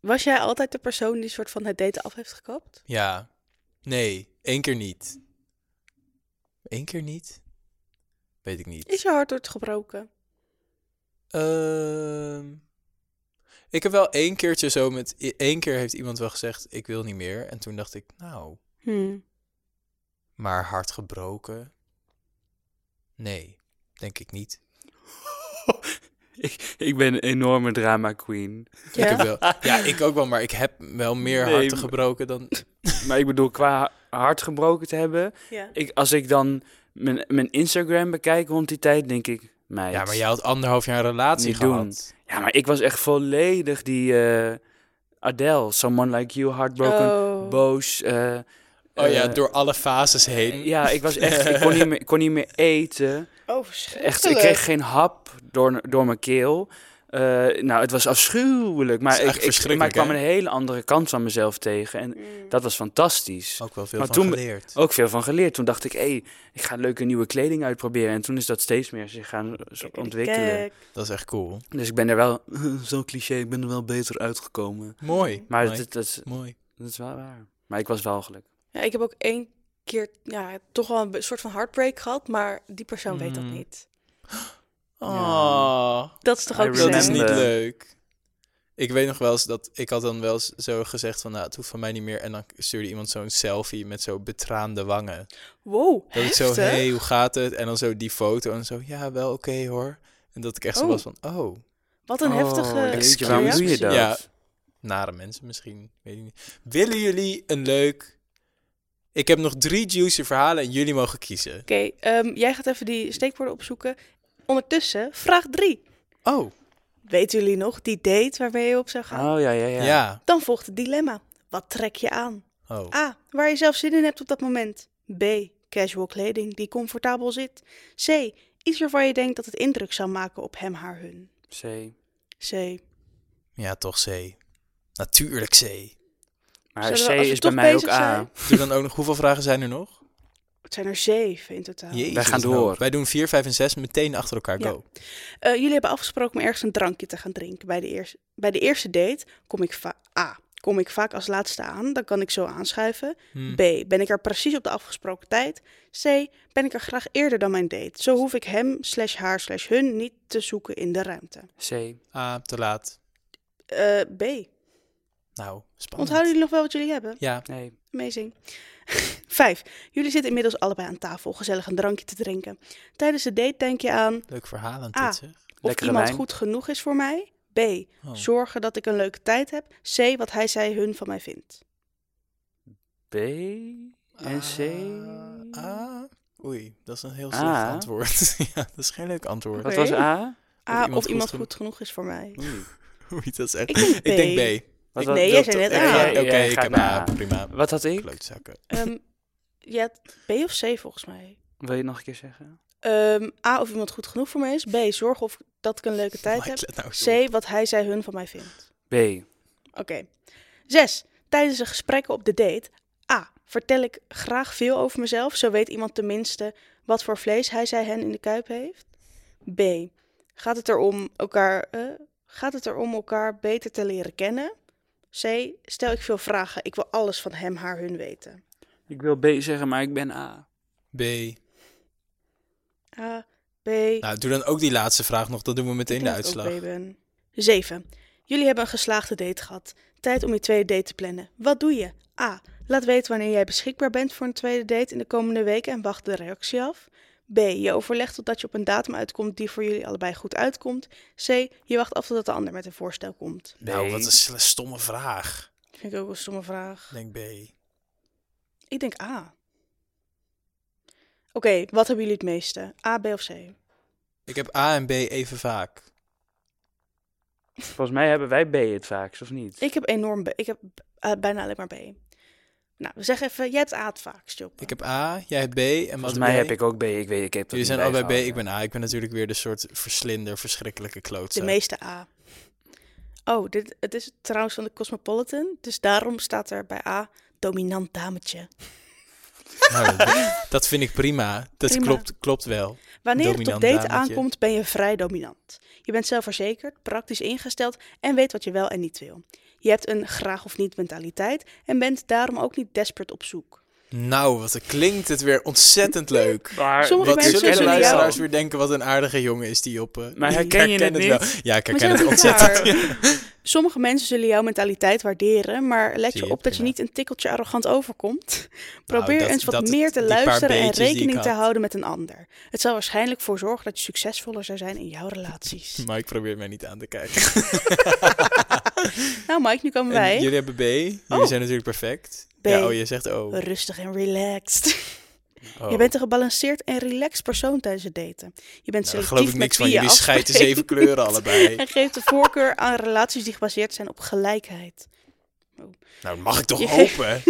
[SPEAKER 2] Was jij altijd de persoon die soort van het daten af heeft gekapt?
[SPEAKER 1] Ja. Nee, één keer niet. Eén keer niet? Weet ik niet.
[SPEAKER 2] Is je hart door het gebroken?
[SPEAKER 1] Ehm, ik heb wel één keertje zo met... i- één keer heeft iemand wel gezegd, ik wil niet meer. En toen dacht ik, nou, maar hard gebroken? Nee, denk ik niet.
[SPEAKER 3] ik, ik ben een enorme drama queen.
[SPEAKER 1] Ik
[SPEAKER 2] Ja?
[SPEAKER 1] heb wel, ja, ik ook wel, maar ik heb wel meer
[SPEAKER 3] Nee,
[SPEAKER 1] harten
[SPEAKER 3] maar-
[SPEAKER 1] gebroken dan...
[SPEAKER 3] Maar ik bedoel, qua hart gebroken te hebben.
[SPEAKER 2] ja.
[SPEAKER 3] Ik, als ik dan mijn, mijn Instagram bekijk rond die tijd, denk ik, meid.
[SPEAKER 1] Ja, maar jij had anderhalf jaar een relatie
[SPEAKER 3] Niet doen.
[SPEAKER 1] gehad.
[SPEAKER 3] Ja, maar ik was echt volledig die eh, Adele, Someone Like You, Heartbroken,
[SPEAKER 2] Oh.
[SPEAKER 3] boos. eh,
[SPEAKER 1] Oh ja,
[SPEAKER 3] eh,
[SPEAKER 1] door alle fases heen.
[SPEAKER 3] Ja, ik was echt, ik kon niet meer, ik kon niet meer eten.
[SPEAKER 2] Oh,
[SPEAKER 3] Echt, ik kreeg geen hap door, door mijn keel. Eh, nou, het was afschuwelijk, maar
[SPEAKER 1] Het is echt
[SPEAKER 3] ik, ik, maar ik
[SPEAKER 1] verschrikkelijk,
[SPEAKER 3] kwam
[SPEAKER 1] hè?
[SPEAKER 3] een hele andere kant van mezelf tegen en
[SPEAKER 2] Hmm.
[SPEAKER 3] dat was fantastisch.
[SPEAKER 1] Ook wel veel
[SPEAKER 3] Maar
[SPEAKER 1] van
[SPEAKER 3] toen-
[SPEAKER 1] geleerd.
[SPEAKER 3] Ook veel van geleerd. Toen dacht ik, hé, hey, ik ga leuke nieuwe kleding uitproberen. En toen is dat steeds meer zich gaan zo ontwikkelen.
[SPEAKER 1] Dat is echt cool.
[SPEAKER 3] Dus ik ben er wel, zo'n cliché, ik ben er wel beter uitgekomen.
[SPEAKER 1] Mooi.
[SPEAKER 3] Maar
[SPEAKER 1] mooi.
[SPEAKER 3] dat, dat, is-
[SPEAKER 1] Mooi.
[SPEAKER 3] dat is wel waar. Maar ik was wel gelukkig.
[SPEAKER 2] Ja, ik heb ook één keer ja, toch wel een be- soort van heartbreak gehad, maar die persoon weet dat
[SPEAKER 3] Hmm.
[SPEAKER 1] Mm.
[SPEAKER 2] niet.
[SPEAKER 3] Oh.
[SPEAKER 1] Ah,
[SPEAKER 2] Dat is toch
[SPEAKER 3] I
[SPEAKER 2] ook
[SPEAKER 1] dat is
[SPEAKER 3] remember.
[SPEAKER 1] niet leuk. Ik weet nog wel eens dat ik had dan wel eens zo gezegd van, nou, het hoeft van mij niet meer. En dan stuurde iemand zo'n selfie met zo betraande wangen.
[SPEAKER 2] Wow,
[SPEAKER 1] Dat ik zo,
[SPEAKER 2] heftig.
[SPEAKER 1] hé, hey, hoe gaat het? En dan zo die foto en zo, ja, wel oké hoor. En dat ik echt zo
[SPEAKER 2] Oh.
[SPEAKER 1] was van, oh,
[SPEAKER 2] Wat een
[SPEAKER 3] Oh,
[SPEAKER 2] heftige...
[SPEAKER 3] jeetje, waarom doe je
[SPEAKER 2] reactie.
[SPEAKER 3] dat?
[SPEAKER 1] Ja. nare mensen misschien, weet ik niet. Willen jullie een leuk... Ik heb nog drie juicy verhalen en jullie mogen kiezen.
[SPEAKER 2] Oké, ehm, jij gaat even die steekwoorden opzoeken. Ondertussen, vraag drie.
[SPEAKER 1] Oh,
[SPEAKER 2] Weten jullie nog die date waarmee je op zou gaan?
[SPEAKER 3] Oh, ja, ja,
[SPEAKER 1] ja.
[SPEAKER 3] ja.
[SPEAKER 2] Dan volgt het dilemma. Wat trek je aan?
[SPEAKER 1] Oh.
[SPEAKER 2] A. Waar je zelf zin in hebt op dat moment. B. Casual kleding die comfortabel zit. C. Iets waarvan je denkt dat het indruk zou maken op hem, haar, hun.
[SPEAKER 3] C.
[SPEAKER 2] C.
[SPEAKER 1] Ja, toch C. Natuurlijk C.
[SPEAKER 3] Maar
[SPEAKER 2] Zullen
[SPEAKER 3] C
[SPEAKER 2] we, als we
[SPEAKER 3] is bij
[SPEAKER 2] toch
[SPEAKER 3] mij ook
[SPEAKER 2] bezig zijn?
[SPEAKER 3] A.
[SPEAKER 1] Doe dan ook nog, hoeveel vragen zijn er nog?
[SPEAKER 2] Het zijn er zeven in totaal.
[SPEAKER 1] Jezus,
[SPEAKER 3] Wij gaan
[SPEAKER 1] nou.
[SPEAKER 3] door.
[SPEAKER 1] Wij doen 4, 5 en 6 meteen achter elkaar.
[SPEAKER 2] Ja.
[SPEAKER 1] Go.
[SPEAKER 2] Eh, jullie hebben afgesproken om ergens een drankje te gaan drinken. Bij de, eerste, bij de eerste date kom ik va- A. Kom ik vaak als laatste aan, dan kan ik zo aanschuiven.
[SPEAKER 1] Hmm.
[SPEAKER 2] B. Ben ik er precies op de afgesproken tijd? C. Ben ik er graag eerder dan mijn date? Zo hoef ik hem, slash haar, slash hun niet te zoeken in de ruimte.
[SPEAKER 3] C.
[SPEAKER 1] Ah, te laat.
[SPEAKER 2] Eh, B.
[SPEAKER 1] Nou, spannend.
[SPEAKER 2] Onthouden jullie nog wel wat jullie hebben?
[SPEAKER 1] Ja,
[SPEAKER 3] Nee.
[SPEAKER 2] Amazing. Vijf. Jullie zitten inmiddels allebei aan tafel gezellig een drankje te drinken. Tijdens de date denk je aan
[SPEAKER 1] leuk verhaal aan
[SPEAKER 2] Ah.
[SPEAKER 1] dit, zeg.
[SPEAKER 2] of
[SPEAKER 3] Lekkere
[SPEAKER 2] iemand
[SPEAKER 3] wijn.
[SPEAKER 2] goed genoeg is voor mij. B.
[SPEAKER 1] Oh.
[SPEAKER 2] Zorgen dat ik een leuke tijd heb. C. Wat hij, zij, hun van mij vindt.
[SPEAKER 3] B en C.
[SPEAKER 1] Ah, ah. Oei, dat is een heel
[SPEAKER 3] Ah.
[SPEAKER 1] slecht antwoord. ja, dat is geen leuk antwoord.
[SPEAKER 3] Wat
[SPEAKER 2] Oké.
[SPEAKER 3] was A?
[SPEAKER 2] A.
[SPEAKER 1] iemand
[SPEAKER 2] of
[SPEAKER 1] goed
[SPEAKER 2] iemand
[SPEAKER 1] geno-
[SPEAKER 2] goed genoeg is voor mij.
[SPEAKER 3] Oei.
[SPEAKER 1] Oei, dat is echt...
[SPEAKER 2] Ik denk B.
[SPEAKER 1] Ik denk B.
[SPEAKER 3] Wat,
[SPEAKER 1] Ik
[SPEAKER 3] wat,
[SPEAKER 2] Nee, jij zei net
[SPEAKER 1] Ik-
[SPEAKER 2] A.
[SPEAKER 1] ja, Oké,
[SPEAKER 3] Jij- jij
[SPEAKER 1] ik
[SPEAKER 3] gaat
[SPEAKER 1] heb
[SPEAKER 3] naar
[SPEAKER 1] A.
[SPEAKER 3] A.
[SPEAKER 1] Prima.
[SPEAKER 3] wat had ik?
[SPEAKER 1] Klootzakken.
[SPEAKER 2] Ehm, ja, B of C volgens mij.
[SPEAKER 3] Wil je het nog een keer zeggen?
[SPEAKER 2] Ehm, A. Of iemand goed genoeg voor mij is. B. Zorgen of dat ik een leuke tijd
[SPEAKER 1] Mike,
[SPEAKER 2] heb.
[SPEAKER 1] let nou eens op.
[SPEAKER 2] C. Wat hij, zij, hun van mij vindt.
[SPEAKER 3] B.
[SPEAKER 2] Oké. Zes. Tijdens de gesprekken op de date. A. Vertel ik graag veel over mezelf. Zo weet iemand tenminste wat voor vlees hij zij hen in de kuip heeft. B. Gaat het erom elkaar, eh, gaat het erom elkaar beter te leren kennen? C. Stel ik veel vragen. Ik wil alles van hem, haar, hun weten.
[SPEAKER 3] Ik wil B zeggen, maar ik ben A.
[SPEAKER 1] B.
[SPEAKER 2] A. B.
[SPEAKER 1] Nou, doe dan ook die laatste vraag nog. Dan doen we meteen
[SPEAKER 2] Ik
[SPEAKER 1] de
[SPEAKER 2] denk dat ik ook
[SPEAKER 1] uitslag.
[SPEAKER 2] B ben. 7. Jullie hebben een geslaagde date gehad. Tijd om je tweede date te plannen. Wat doe je? A. Laat weten wanneer jij beschikbaar bent voor een tweede date in de komende weken en wacht de reactie af. B. Je overlegt totdat je op een datum uitkomt die voor jullie allebei goed uitkomt. C. Je wacht af totdat de ander met een voorstel komt.
[SPEAKER 1] Nou, wat
[SPEAKER 3] B.
[SPEAKER 1] een sle- stomme vraag.
[SPEAKER 2] Vind ik ook een stomme vraag.
[SPEAKER 1] Ik denk B.
[SPEAKER 2] Ik denk A. Oké, wat hebben jullie het meeste? A, B of C?
[SPEAKER 1] Ik heb A en B even vaak.
[SPEAKER 3] Volgens mij hebben wij B het vaakst, of niet?
[SPEAKER 2] Ik heb enorm B. Ik heb eh, bijna alleen maar B. Nou, zeg even, jij hebt A het vaakst, Job.
[SPEAKER 1] Ik heb A, jij hebt B en
[SPEAKER 3] Volgens mij heb ik ook B. Ik weet, ik heb dat
[SPEAKER 1] Jullie
[SPEAKER 3] niet
[SPEAKER 1] zijn allebei B,
[SPEAKER 3] bijgehouden.
[SPEAKER 1] ik ben A. Ik ben natuurlijk weer de soort verslinder, verschrikkelijke
[SPEAKER 2] De
[SPEAKER 1] klootzak.
[SPEAKER 2] meeste A. Oh, dit, het is trouwens van de Cosmopolitan. Dus daarom staat er bij A dominant dametje.
[SPEAKER 1] Nou, dat- dat vind ik prima. Dat
[SPEAKER 2] Prima.
[SPEAKER 1] Klopt, klopt wel.
[SPEAKER 2] Wanneer
[SPEAKER 1] Dominant
[SPEAKER 2] het op date
[SPEAKER 1] dametje.
[SPEAKER 2] aankomt, ben je vrij dominant. Je bent zelfverzekerd, praktisch ingesteld en weet wat je wel en niet wil. Je hebt een graag of niet mentaliteit en bent daarom ook niet desperate op zoek.
[SPEAKER 1] Nou, wat er klinkt het weer ontzettend leuk.
[SPEAKER 3] Maar
[SPEAKER 2] Sommige
[SPEAKER 1] Wat
[SPEAKER 2] mensen
[SPEAKER 1] zullen de
[SPEAKER 2] zullen jou-
[SPEAKER 1] luisteraars weer denken, wat een aardige jongen is die op... eh,
[SPEAKER 3] Maar
[SPEAKER 1] ik
[SPEAKER 3] herken je het
[SPEAKER 1] wel.
[SPEAKER 3] niet?
[SPEAKER 1] Ja, ik
[SPEAKER 2] Maar
[SPEAKER 1] herken het
[SPEAKER 2] zo
[SPEAKER 1] ontzettend.
[SPEAKER 2] raar. Sommige mensen zullen jouw mentaliteit waarderen, maar let
[SPEAKER 1] Zie
[SPEAKER 2] je
[SPEAKER 1] je,
[SPEAKER 2] op dat
[SPEAKER 1] prima.
[SPEAKER 2] je
[SPEAKER 1] Nou,
[SPEAKER 2] niet een tikkeltje arrogant overkomt. Probeer
[SPEAKER 1] dat-
[SPEAKER 2] eens wat
[SPEAKER 1] dat-
[SPEAKER 2] meer te
[SPEAKER 1] die paar
[SPEAKER 2] luisteren en
[SPEAKER 1] beetjes die ik
[SPEAKER 2] rekening te
[SPEAKER 1] had.
[SPEAKER 2] houden met een ander. Het zal waarschijnlijk voor zorgen dat je succesvoller zou zijn in jouw relaties.
[SPEAKER 1] Maar ik probeer mij niet aan te kijken.
[SPEAKER 2] Nou Mike, nu komen
[SPEAKER 1] En
[SPEAKER 2] wij.
[SPEAKER 1] jullie hebben B. Jullie
[SPEAKER 2] Oh.
[SPEAKER 1] zijn natuurlijk perfect.
[SPEAKER 2] B.
[SPEAKER 1] Ja, oh, je zegt O. Oh.
[SPEAKER 2] Rustig en relaxed. Je bent een gebalanceerd en relaxed persoon tijdens het daten. Je bent
[SPEAKER 1] Nou, daar
[SPEAKER 2] selectief
[SPEAKER 1] geloof ik
[SPEAKER 2] met
[SPEAKER 1] niks van.
[SPEAKER 2] wie je
[SPEAKER 1] Jullie scheiden
[SPEAKER 2] afspreekt.
[SPEAKER 1] zeven kleuren allebei. Nou,
[SPEAKER 2] En geeft de voorkeur aan relaties die gebaseerd zijn op gelijkheid.
[SPEAKER 1] Nou, dat mag ik toch
[SPEAKER 2] Je-
[SPEAKER 1] hopen?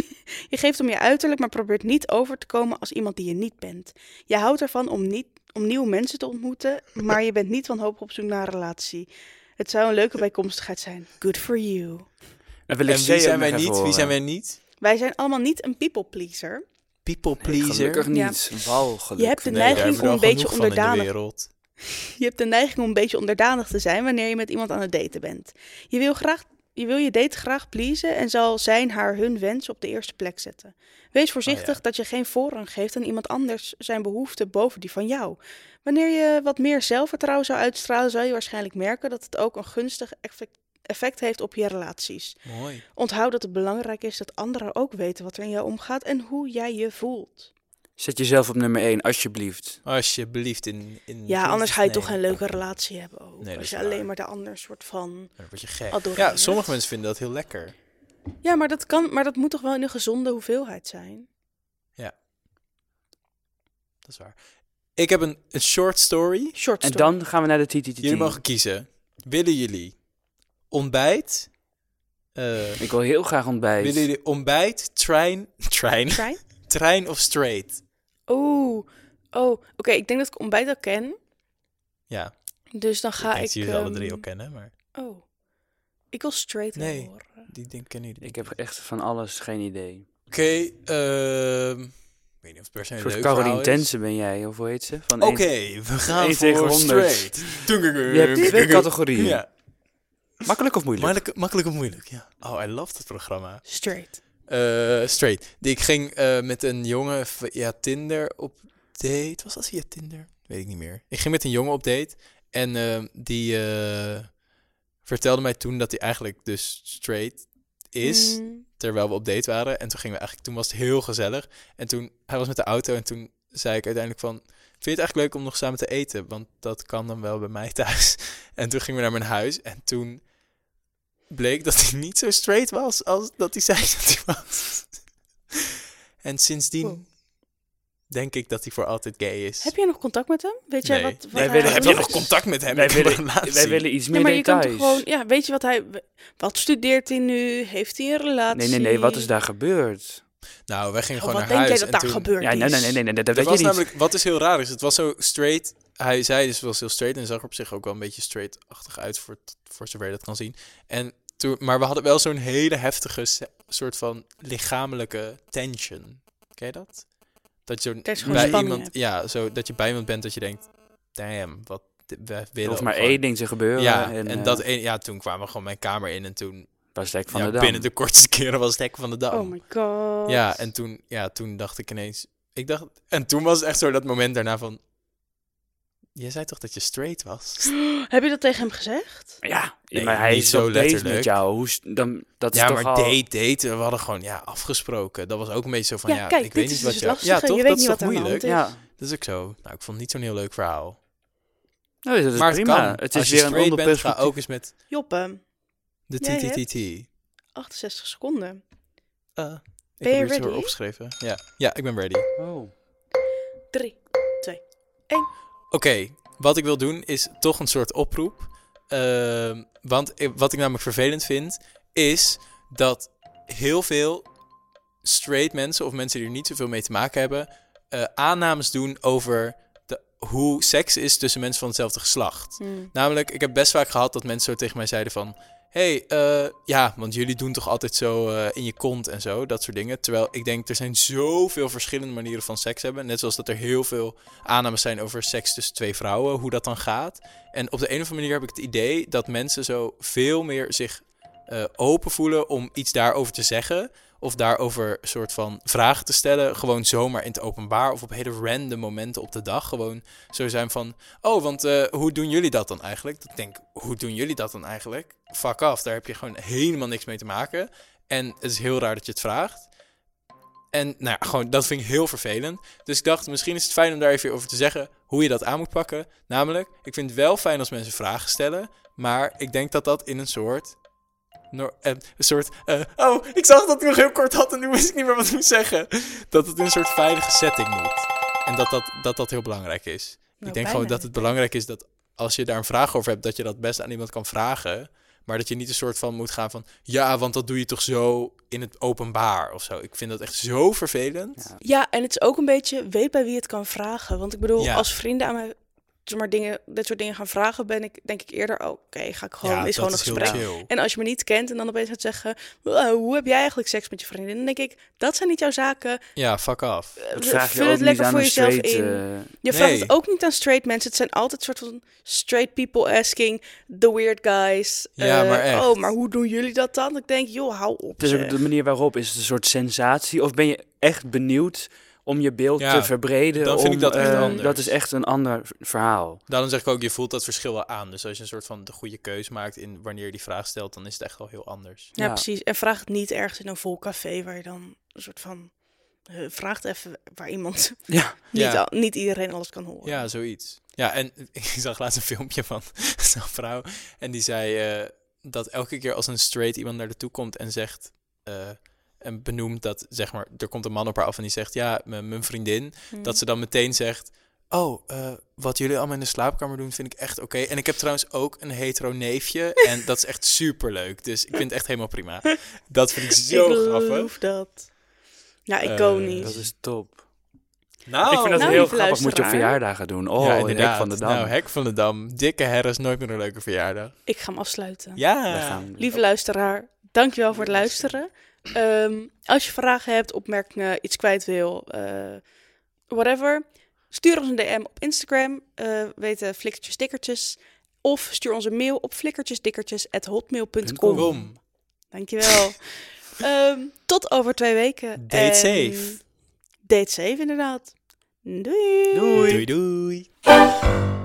[SPEAKER 2] Je geeft om je uiterlijk, maar probeert niet over te komen als iemand die je niet bent. Je houdt ervan om, niet, om nieuwe mensen te ontmoeten, maar je bent niet wanhopig op zoek naar een relatie. Het zou een leuke bijkomstigheid zijn. Good for you.
[SPEAKER 3] En wil ik
[SPEAKER 1] En wie
[SPEAKER 3] C
[SPEAKER 1] zijn
[SPEAKER 3] ook nog
[SPEAKER 1] wij
[SPEAKER 3] even
[SPEAKER 1] niet? Wie
[SPEAKER 3] horen.
[SPEAKER 1] zijn wij niet?
[SPEAKER 2] Wij zijn allemaal niet een people pleaser.
[SPEAKER 1] People
[SPEAKER 3] Nee,
[SPEAKER 1] pleaser.
[SPEAKER 3] Gelukkig
[SPEAKER 2] Ja.
[SPEAKER 3] niet. Walgelijk.
[SPEAKER 2] Je hebt de
[SPEAKER 1] Nee, daar
[SPEAKER 2] neiging
[SPEAKER 1] hebben we
[SPEAKER 2] om
[SPEAKER 1] er
[SPEAKER 2] een
[SPEAKER 1] al
[SPEAKER 2] beetje
[SPEAKER 1] genoeg van in de
[SPEAKER 2] onderdanig.
[SPEAKER 1] wereld.
[SPEAKER 2] Je hebt de neiging om een beetje onderdanig te zijn wanneer je met iemand aan het daten bent. Je wil, graag, je, wil je date graag pleasen en zal zijn haar hun wens op de eerste plek zetten.
[SPEAKER 1] Oh
[SPEAKER 2] Wees voorzichtig dat je geen voorrang geeft aan iemand anders zijn behoeften boven die van jou. Wanneer je wat meer zelfvertrouwen zou uitstralen, zou je waarschijnlijk merken dat het ook een gunstig effect, effect heeft op je relaties.
[SPEAKER 1] Mooi.
[SPEAKER 2] Onthoud dat het belangrijk is dat anderen ook weten wat er in jou omgaat en hoe jij je voelt.
[SPEAKER 3] Zet jezelf op nummer 1, alsjeblieft.
[SPEAKER 1] Alsjeblieft in... in
[SPEAKER 2] Ja, anders ga je
[SPEAKER 1] nee.
[SPEAKER 2] toch geen leuke relatie hebben ook.
[SPEAKER 1] Nee, dat
[SPEAKER 2] als
[SPEAKER 1] is
[SPEAKER 2] je
[SPEAKER 1] waar.
[SPEAKER 2] alleen maar de ander soort van...
[SPEAKER 1] Dan word je gek.
[SPEAKER 2] Adoreer.
[SPEAKER 1] Ja, sommige mensen vinden dat heel lekker.
[SPEAKER 2] Ja, maar dat kan, maar dat moet toch wel in een gezonde hoeveelheid zijn.
[SPEAKER 1] Dat is waar. Ik heb een, een short story.
[SPEAKER 2] Short
[SPEAKER 3] En
[SPEAKER 2] story.
[SPEAKER 3] dan gaan we naar de TTT.
[SPEAKER 1] Jullie mogen kiezen. Willen jullie ontbijt? eh,
[SPEAKER 3] Ik wil heel graag ontbijt.
[SPEAKER 1] willen jullie ontbijt, trein, trein,
[SPEAKER 2] Trein?
[SPEAKER 1] trein of straight?
[SPEAKER 2] Oh, oh, oké. ik denk dat ik ontbijt al ken.
[SPEAKER 1] Ja,
[SPEAKER 2] Dus dan
[SPEAKER 1] ik
[SPEAKER 2] ga ik.
[SPEAKER 1] denk dat jullie ze alle drie
[SPEAKER 2] ehm,
[SPEAKER 1] ook kennen, maar
[SPEAKER 2] Oh, ik wil straight wel
[SPEAKER 1] Nee.
[SPEAKER 2] horen.
[SPEAKER 1] die ding kennen jullie.
[SPEAKER 3] Ik heb echt van alles geen idee.
[SPEAKER 1] Oké, ehm, ik weet niet of het per se
[SPEAKER 3] Een
[SPEAKER 1] een
[SPEAKER 3] soort
[SPEAKER 1] leuk
[SPEAKER 3] Caroline
[SPEAKER 1] verhaal
[SPEAKER 3] Tense ben jij, of hoe heet ze? Van
[SPEAKER 1] is. Oké,
[SPEAKER 3] één-
[SPEAKER 1] we gaan
[SPEAKER 3] Eén tegen
[SPEAKER 1] voor
[SPEAKER 3] honderd.
[SPEAKER 1] straight. Dunker.
[SPEAKER 3] Je hebt twee categorieën.
[SPEAKER 1] Ja,
[SPEAKER 3] Makkelijk of moeilijk?
[SPEAKER 1] makkelijk, makkelijk of moeilijk, ja. Oh, I love dat programma.
[SPEAKER 2] Straight.
[SPEAKER 1] Eh, straight. Die ik ging eh, met een jongen via Tinder op date. Was dat via Tinder? Weet ik niet meer. Ik ging met een jongen op date. En eh, die eh, vertelde mij toen dat hij eigenlijk dus straight is.
[SPEAKER 2] Mm,
[SPEAKER 1] Terwijl we op date waren. En toen gingen we eigenlijk... Toen was het heel gezellig. En toen... Hij was met de auto. En toen zei ik uiteindelijk van... Vind je het eigenlijk leuk om nog samen te eten? Want dat kan dan wel bij mij thuis. En toen gingen we naar mijn huis. En toen bleek dat hij niet zo straight was als dat hij zei dat hij was. En sindsdien
[SPEAKER 2] Wow.
[SPEAKER 1] denk ik dat hij voor altijd gay is.
[SPEAKER 2] Heb jij nog contact met hem? Weet jij
[SPEAKER 1] Nee.
[SPEAKER 2] wat? wat
[SPEAKER 3] Wij
[SPEAKER 2] hij
[SPEAKER 3] willen-
[SPEAKER 1] Heb
[SPEAKER 2] doet?
[SPEAKER 1] je nog contact met hem?
[SPEAKER 3] Wij
[SPEAKER 1] Ik heb
[SPEAKER 3] willen-
[SPEAKER 1] een relatie.
[SPEAKER 3] Wij willen iets
[SPEAKER 2] Ja,
[SPEAKER 3] meer
[SPEAKER 2] maar je kan
[SPEAKER 3] details.
[SPEAKER 2] toch gewoon. Ja, weet je wat hij. Wat studeert hij nu? Heeft hij een relatie?
[SPEAKER 3] Nee, nee, nee, wat is daar gebeurd?
[SPEAKER 1] Nou, wij gingen
[SPEAKER 2] Oh,
[SPEAKER 1] gewoon
[SPEAKER 2] wat
[SPEAKER 1] naar huis.
[SPEAKER 2] denk jij dat
[SPEAKER 1] en
[SPEAKER 2] daar
[SPEAKER 1] toen-
[SPEAKER 2] gebeurt?
[SPEAKER 3] Ja, nee, nee, nee, nee, nee, dat
[SPEAKER 1] Dat
[SPEAKER 3] weet je
[SPEAKER 1] was
[SPEAKER 3] niet.
[SPEAKER 1] namelijk, wat is heel raar is, het was zo straight. Hij zei dus het was heel straight en zag er op zich ook wel een beetje straight-achtig uit voor, voor zover je dat kan zien. En toen, maar we hadden wel zo'n hele heftige se- soort van lichamelijke tension. Ken je dat? Dat je
[SPEAKER 2] Dat je
[SPEAKER 1] zo
[SPEAKER 2] gewoon
[SPEAKER 1] bij
[SPEAKER 2] spanning
[SPEAKER 1] iemand,
[SPEAKER 2] hebt.
[SPEAKER 1] ja, zo dat je bij iemand bent dat je denkt, damn, wat d- we
[SPEAKER 3] Er
[SPEAKER 1] willen
[SPEAKER 3] hoeft
[SPEAKER 1] ook
[SPEAKER 3] maar
[SPEAKER 1] gewoon-
[SPEAKER 3] één ding te gebeuren.
[SPEAKER 1] Ja, en,
[SPEAKER 3] eh,
[SPEAKER 1] dat een, ja, toen kwamen we gewoon mijn kamer in en toen
[SPEAKER 3] was Lek van
[SPEAKER 1] ja,
[SPEAKER 3] de Dam.
[SPEAKER 1] binnen de kortste keren was het hek van de dam.
[SPEAKER 2] Oh my god.
[SPEAKER 1] Ja, en toen, ja, toen dacht ik ineens. Ik dacht, en toen was het echt zo dat moment daarna van. Jij zei toch dat je straight was?
[SPEAKER 2] Heb je dat tegen hem gezegd?
[SPEAKER 3] Ja,
[SPEAKER 1] Nee,
[SPEAKER 3] maar hij
[SPEAKER 1] niet
[SPEAKER 3] is
[SPEAKER 1] zo
[SPEAKER 3] zo bezig
[SPEAKER 1] letterlijk.
[SPEAKER 3] met jou. Hoe, is- dan, dat is
[SPEAKER 1] ja,
[SPEAKER 3] toch
[SPEAKER 1] maar
[SPEAKER 3] al...
[SPEAKER 1] date, date. We hadden gewoon ja, afgesproken. Dat was ook een beetje zo van. Ja,
[SPEAKER 2] Ja, kijk,
[SPEAKER 1] ik
[SPEAKER 2] dit
[SPEAKER 1] weet niet
[SPEAKER 2] is
[SPEAKER 1] wat
[SPEAKER 2] dus
[SPEAKER 1] je.
[SPEAKER 2] het
[SPEAKER 1] ja,
[SPEAKER 2] lastige.
[SPEAKER 1] toch?
[SPEAKER 2] Je
[SPEAKER 1] dat
[SPEAKER 2] weet
[SPEAKER 1] is
[SPEAKER 2] niet
[SPEAKER 1] toch
[SPEAKER 2] wat aan de
[SPEAKER 1] moeilijk?
[SPEAKER 2] hand
[SPEAKER 3] Ja,
[SPEAKER 1] Dat is ook zo. Nou, ik vond het niet zo'n heel leuk verhaal.
[SPEAKER 3] nee, dat is
[SPEAKER 1] maar het
[SPEAKER 3] prima.
[SPEAKER 1] kan.
[SPEAKER 3] Het, is
[SPEAKER 1] Als je
[SPEAKER 3] weer een
[SPEAKER 1] straight
[SPEAKER 3] ander
[SPEAKER 1] bent, ga
[SPEAKER 3] perspectief.
[SPEAKER 1] ook eens met
[SPEAKER 2] Joppe,
[SPEAKER 1] de
[SPEAKER 2] Jij hebt-
[SPEAKER 1] TTTT.
[SPEAKER 2] Echt 68 seconden.
[SPEAKER 1] Eh, ik
[SPEAKER 2] Ben
[SPEAKER 1] heb
[SPEAKER 2] je
[SPEAKER 1] er iets voor
[SPEAKER 2] ready?
[SPEAKER 1] opgeschreven. Ja. ja, ik ben ready. Oké,
[SPEAKER 3] Oh.
[SPEAKER 2] 3.
[SPEAKER 1] wat ik wil doen is toch een soort oproep. Ehm, want ik- wat ik namelijk vervelend vind, is dat heel veel straight mensen of mensen die er niet zoveel mee te maken hebben, eh, aannames doen over de, hoe seks is tussen mensen van hetzelfde geslacht.
[SPEAKER 2] Hmm.
[SPEAKER 1] Namelijk, ik heb best vaak gehad dat mensen zo tegen mij zeiden van... hey, eh, ja, want jullie doen toch altijd zo eh, in je kont en zo, dat soort dingen. Terwijl ik denk, er zijn zoveel verschillende manieren van seks hebben. Net zoals dat er heel veel aannames zijn over seks tussen twee vrouwen, hoe dat dan gaat. En op de een of andere manier heb ik het idee dat mensen zo veel meer zich eh, open voelen om iets daarover te zeggen. Of daarover soort van vragen te stellen. Gewoon zomaar in het openbaar. Of op hele random momenten op de dag. Gewoon zo zijn van. Oh, want eh, hoe doen jullie dat dan eigenlijk? Dat ik denk, hoe doen jullie dat dan eigenlijk? Fuck af, daar heb je gewoon helemaal niks mee te maken. En het is heel raar dat je het vraagt. En nou ja, gewoon, dat vind ik heel vervelend. Dus ik dacht, misschien is het fijn om daar even over te zeggen hoe je dat aan moet pakken. Namelijk, ik vind het wel fijn als mensen vragen stellen. Maar ik denk dat dat in een soort. no- eh, een soort. eh, oh, ik zag dat ik nog heel kort had en nu wist ik niet meer wat ik moest zeggen. Dat het in een soort veilige setting moet. En dat dat, dat, dat heel belangrijk is.
[SPEAKER 2] Nou,
[SPEAKER 1] ik denk gewoon dat het belangrijk is dat als je daar een vraag over hebt, dat je dat best aan iemand kan vragen. Maar dat je niet een soort van moet gaan van. Ja, want dat doe je toch zo in het openbaar of zo. Ik vind dat echt zo vervelend.
[SPEAKER 3] Ja.
[SPEAKER 2] Ja, en het is ook een beetje, weet bij wie het kan vragen. Want ik bedoel,
[SPEAKER 1] Ja.
[SPEAKER 2] als vrienden aan mij zeg maar, dingen, dit soort dingen gaan vragen, ben ik denk ik eerder, oh, oké, ga ik gewoon, is gewoon een
[SPEAKER 1] heel
[SPEAKER 2] gesprek.
[SPEAKER 1] chill.
[SPEAKER 2] En als je me niet kent en dan opeens gaat zeggen, "Wow, hoe heb jij eigenlijk seks met je vriendin? Dan denk ik, dat zijn niet jouw zaken.
[SPEAKER 1] Ja, fuck af.
[SPEAKER 3] Dat
[SPEAKER 2] Eh,
[SPEAKER 3] vraag je
[SPEAKER 2] Vul
[SPEAKER 3] ook
[SPEAKER 2] het lekker
[SPEAKER 3] niet
[SPEAKER 2] voor
[SPEAKER 3] aan een
[SPEAKER 2] jezelf
[SPEAKER 3] straight,
[SPEAKER 2] in.
[SPEAKER 3] eh,
[SPEAKER 2] Je vraagt
[SPEAKER 1] Nee.
[SPEAKER 2] het ook niet aan straight mensen. Het zijn altijd soort van straight people asking the weird guys.
[SPEAKER 1] Ja,
[SPEAKER 2] eh,
[SPEAKER 1] maar echt.
[SPEAKER 2] Oh, maar hoe doen jullie dat dan? Ik denk, joh, hou op.
[SPEAKER 3] het is
[SPEAKER 2] zeg.
[SPEAKER 3] ook de manier waarop. Is het een soort sensatie? Of ben je echt benieuwd om je beeld
[SPEAKER 1] Ja,
[SPEAKER 3] te verbreden?
[SPEAKER 1] dan vind
[SPEAKER 3] om,
[SPEAKER 1] ik dat echt
[SPEAKER 3] eh,
[SPEAKER 1] anders.
[SPEAKER 3] Dat is echt een ander v- verhaal.
[SPEAKER 1] Daarom zeg ik ook, je voelt dat verschil wel aan. Dus als je een soort van de goede keus maakt in wanneer je die vraag stelt, dan is het echt wel heel anders.
[SPEAKER 2] Ja,
[SPEAKER 3] Ja.
[SPEAKER 2] precies. En vraag het niet ergens in een vol café waar je dan een soort van... eh, vraagt even waar iemand...
[SPEAKER 3] Ja.
[SPEAKER 2] niet,
[SPEAKER 1] Ja.
[SPEAKER 2] al- niet iedereen alles kan horen.
[SPEAKER 1] Ja, zoiets. Ja, en ik zag laatst een filmpje van zo'n vrouw. En die zei eh, dat elke keer als een straight iemand naar de toe komt en zegt. eh, en benoemt dat, zeg maar, er komt een man op haar af en die zegt: Ja, m- mijn
[SPEAKER 3] Mhm.
[SPEAKER 1] vriendin.
[SPEAKER 2] Hmm.
[SPEAKER 1] Dat ze dan meteen zegt: Oh, eh, wat jullie allemaal in de slaapkamer doen, vind ik echt oké. En ik heb trouwens ook een hetero neefje. En dat is echt super leuk. Dus ik vind het echt helemaal prima. Dat vind ik zo
[SPEAKER 2] ik
[SPEAKER 1] grappig.
[SPEAKER 2] geloof dat. Nou,
[SPEAKER 1] Eh,
[SPEAKER 2] iconisch.
[SPEAKER 3] Dat is top.
[SPEAKER 1] Nou,
[SPEAKER 3] ik vind dat
[SPEAKER 2] nou,
[SPEAKER 3] heel
[SPEAKER 2] lieve
[SPEAKER 3] grappig. Moet je op
[SPEAKER 2] luisteraar.
[SPEAKER 3] verjaardagen doen. Oh,
[SPEAKER 1] ja,
[SPEAKER 3] ja,
[SPEAKER 1] inderdaad.
[SPEAKER 3] van de Dam.
[SPEAKER 1] Nou, Hek van de Dam. Dikke herres, nooit meer een leuke verjaardag.
[SPEAKER 2] Ik ga hem afsluiten.
[SPEAKER 1] Ja.
[SPEAKER 3] Daar gaan we.
[SPEAKER 2] Lieve luisteraar, dankjewel voor het luisteren. Ehm, als je vragen hebt, opmerkingen, iets kwijt wil, eh, whatever, stuur ons een DM op Instagram, eh weten flikkertjes dikkertjes, of stuur ons een mail op flikkertjesdikkertjes@hotmail.com.
[SPEAKER 1] Kom.
[SPEAKER 2] Dankjewel. Ehm tot over twee weken.
[SPEAKER 1] Date
[SPEAKER 2] En-
[SPEAKER 1] safe.
[SPEAKER 2] Date safe inderdaad. Doei.
[SPEAKER 3] Doei.
[SPEAKER 1] doei.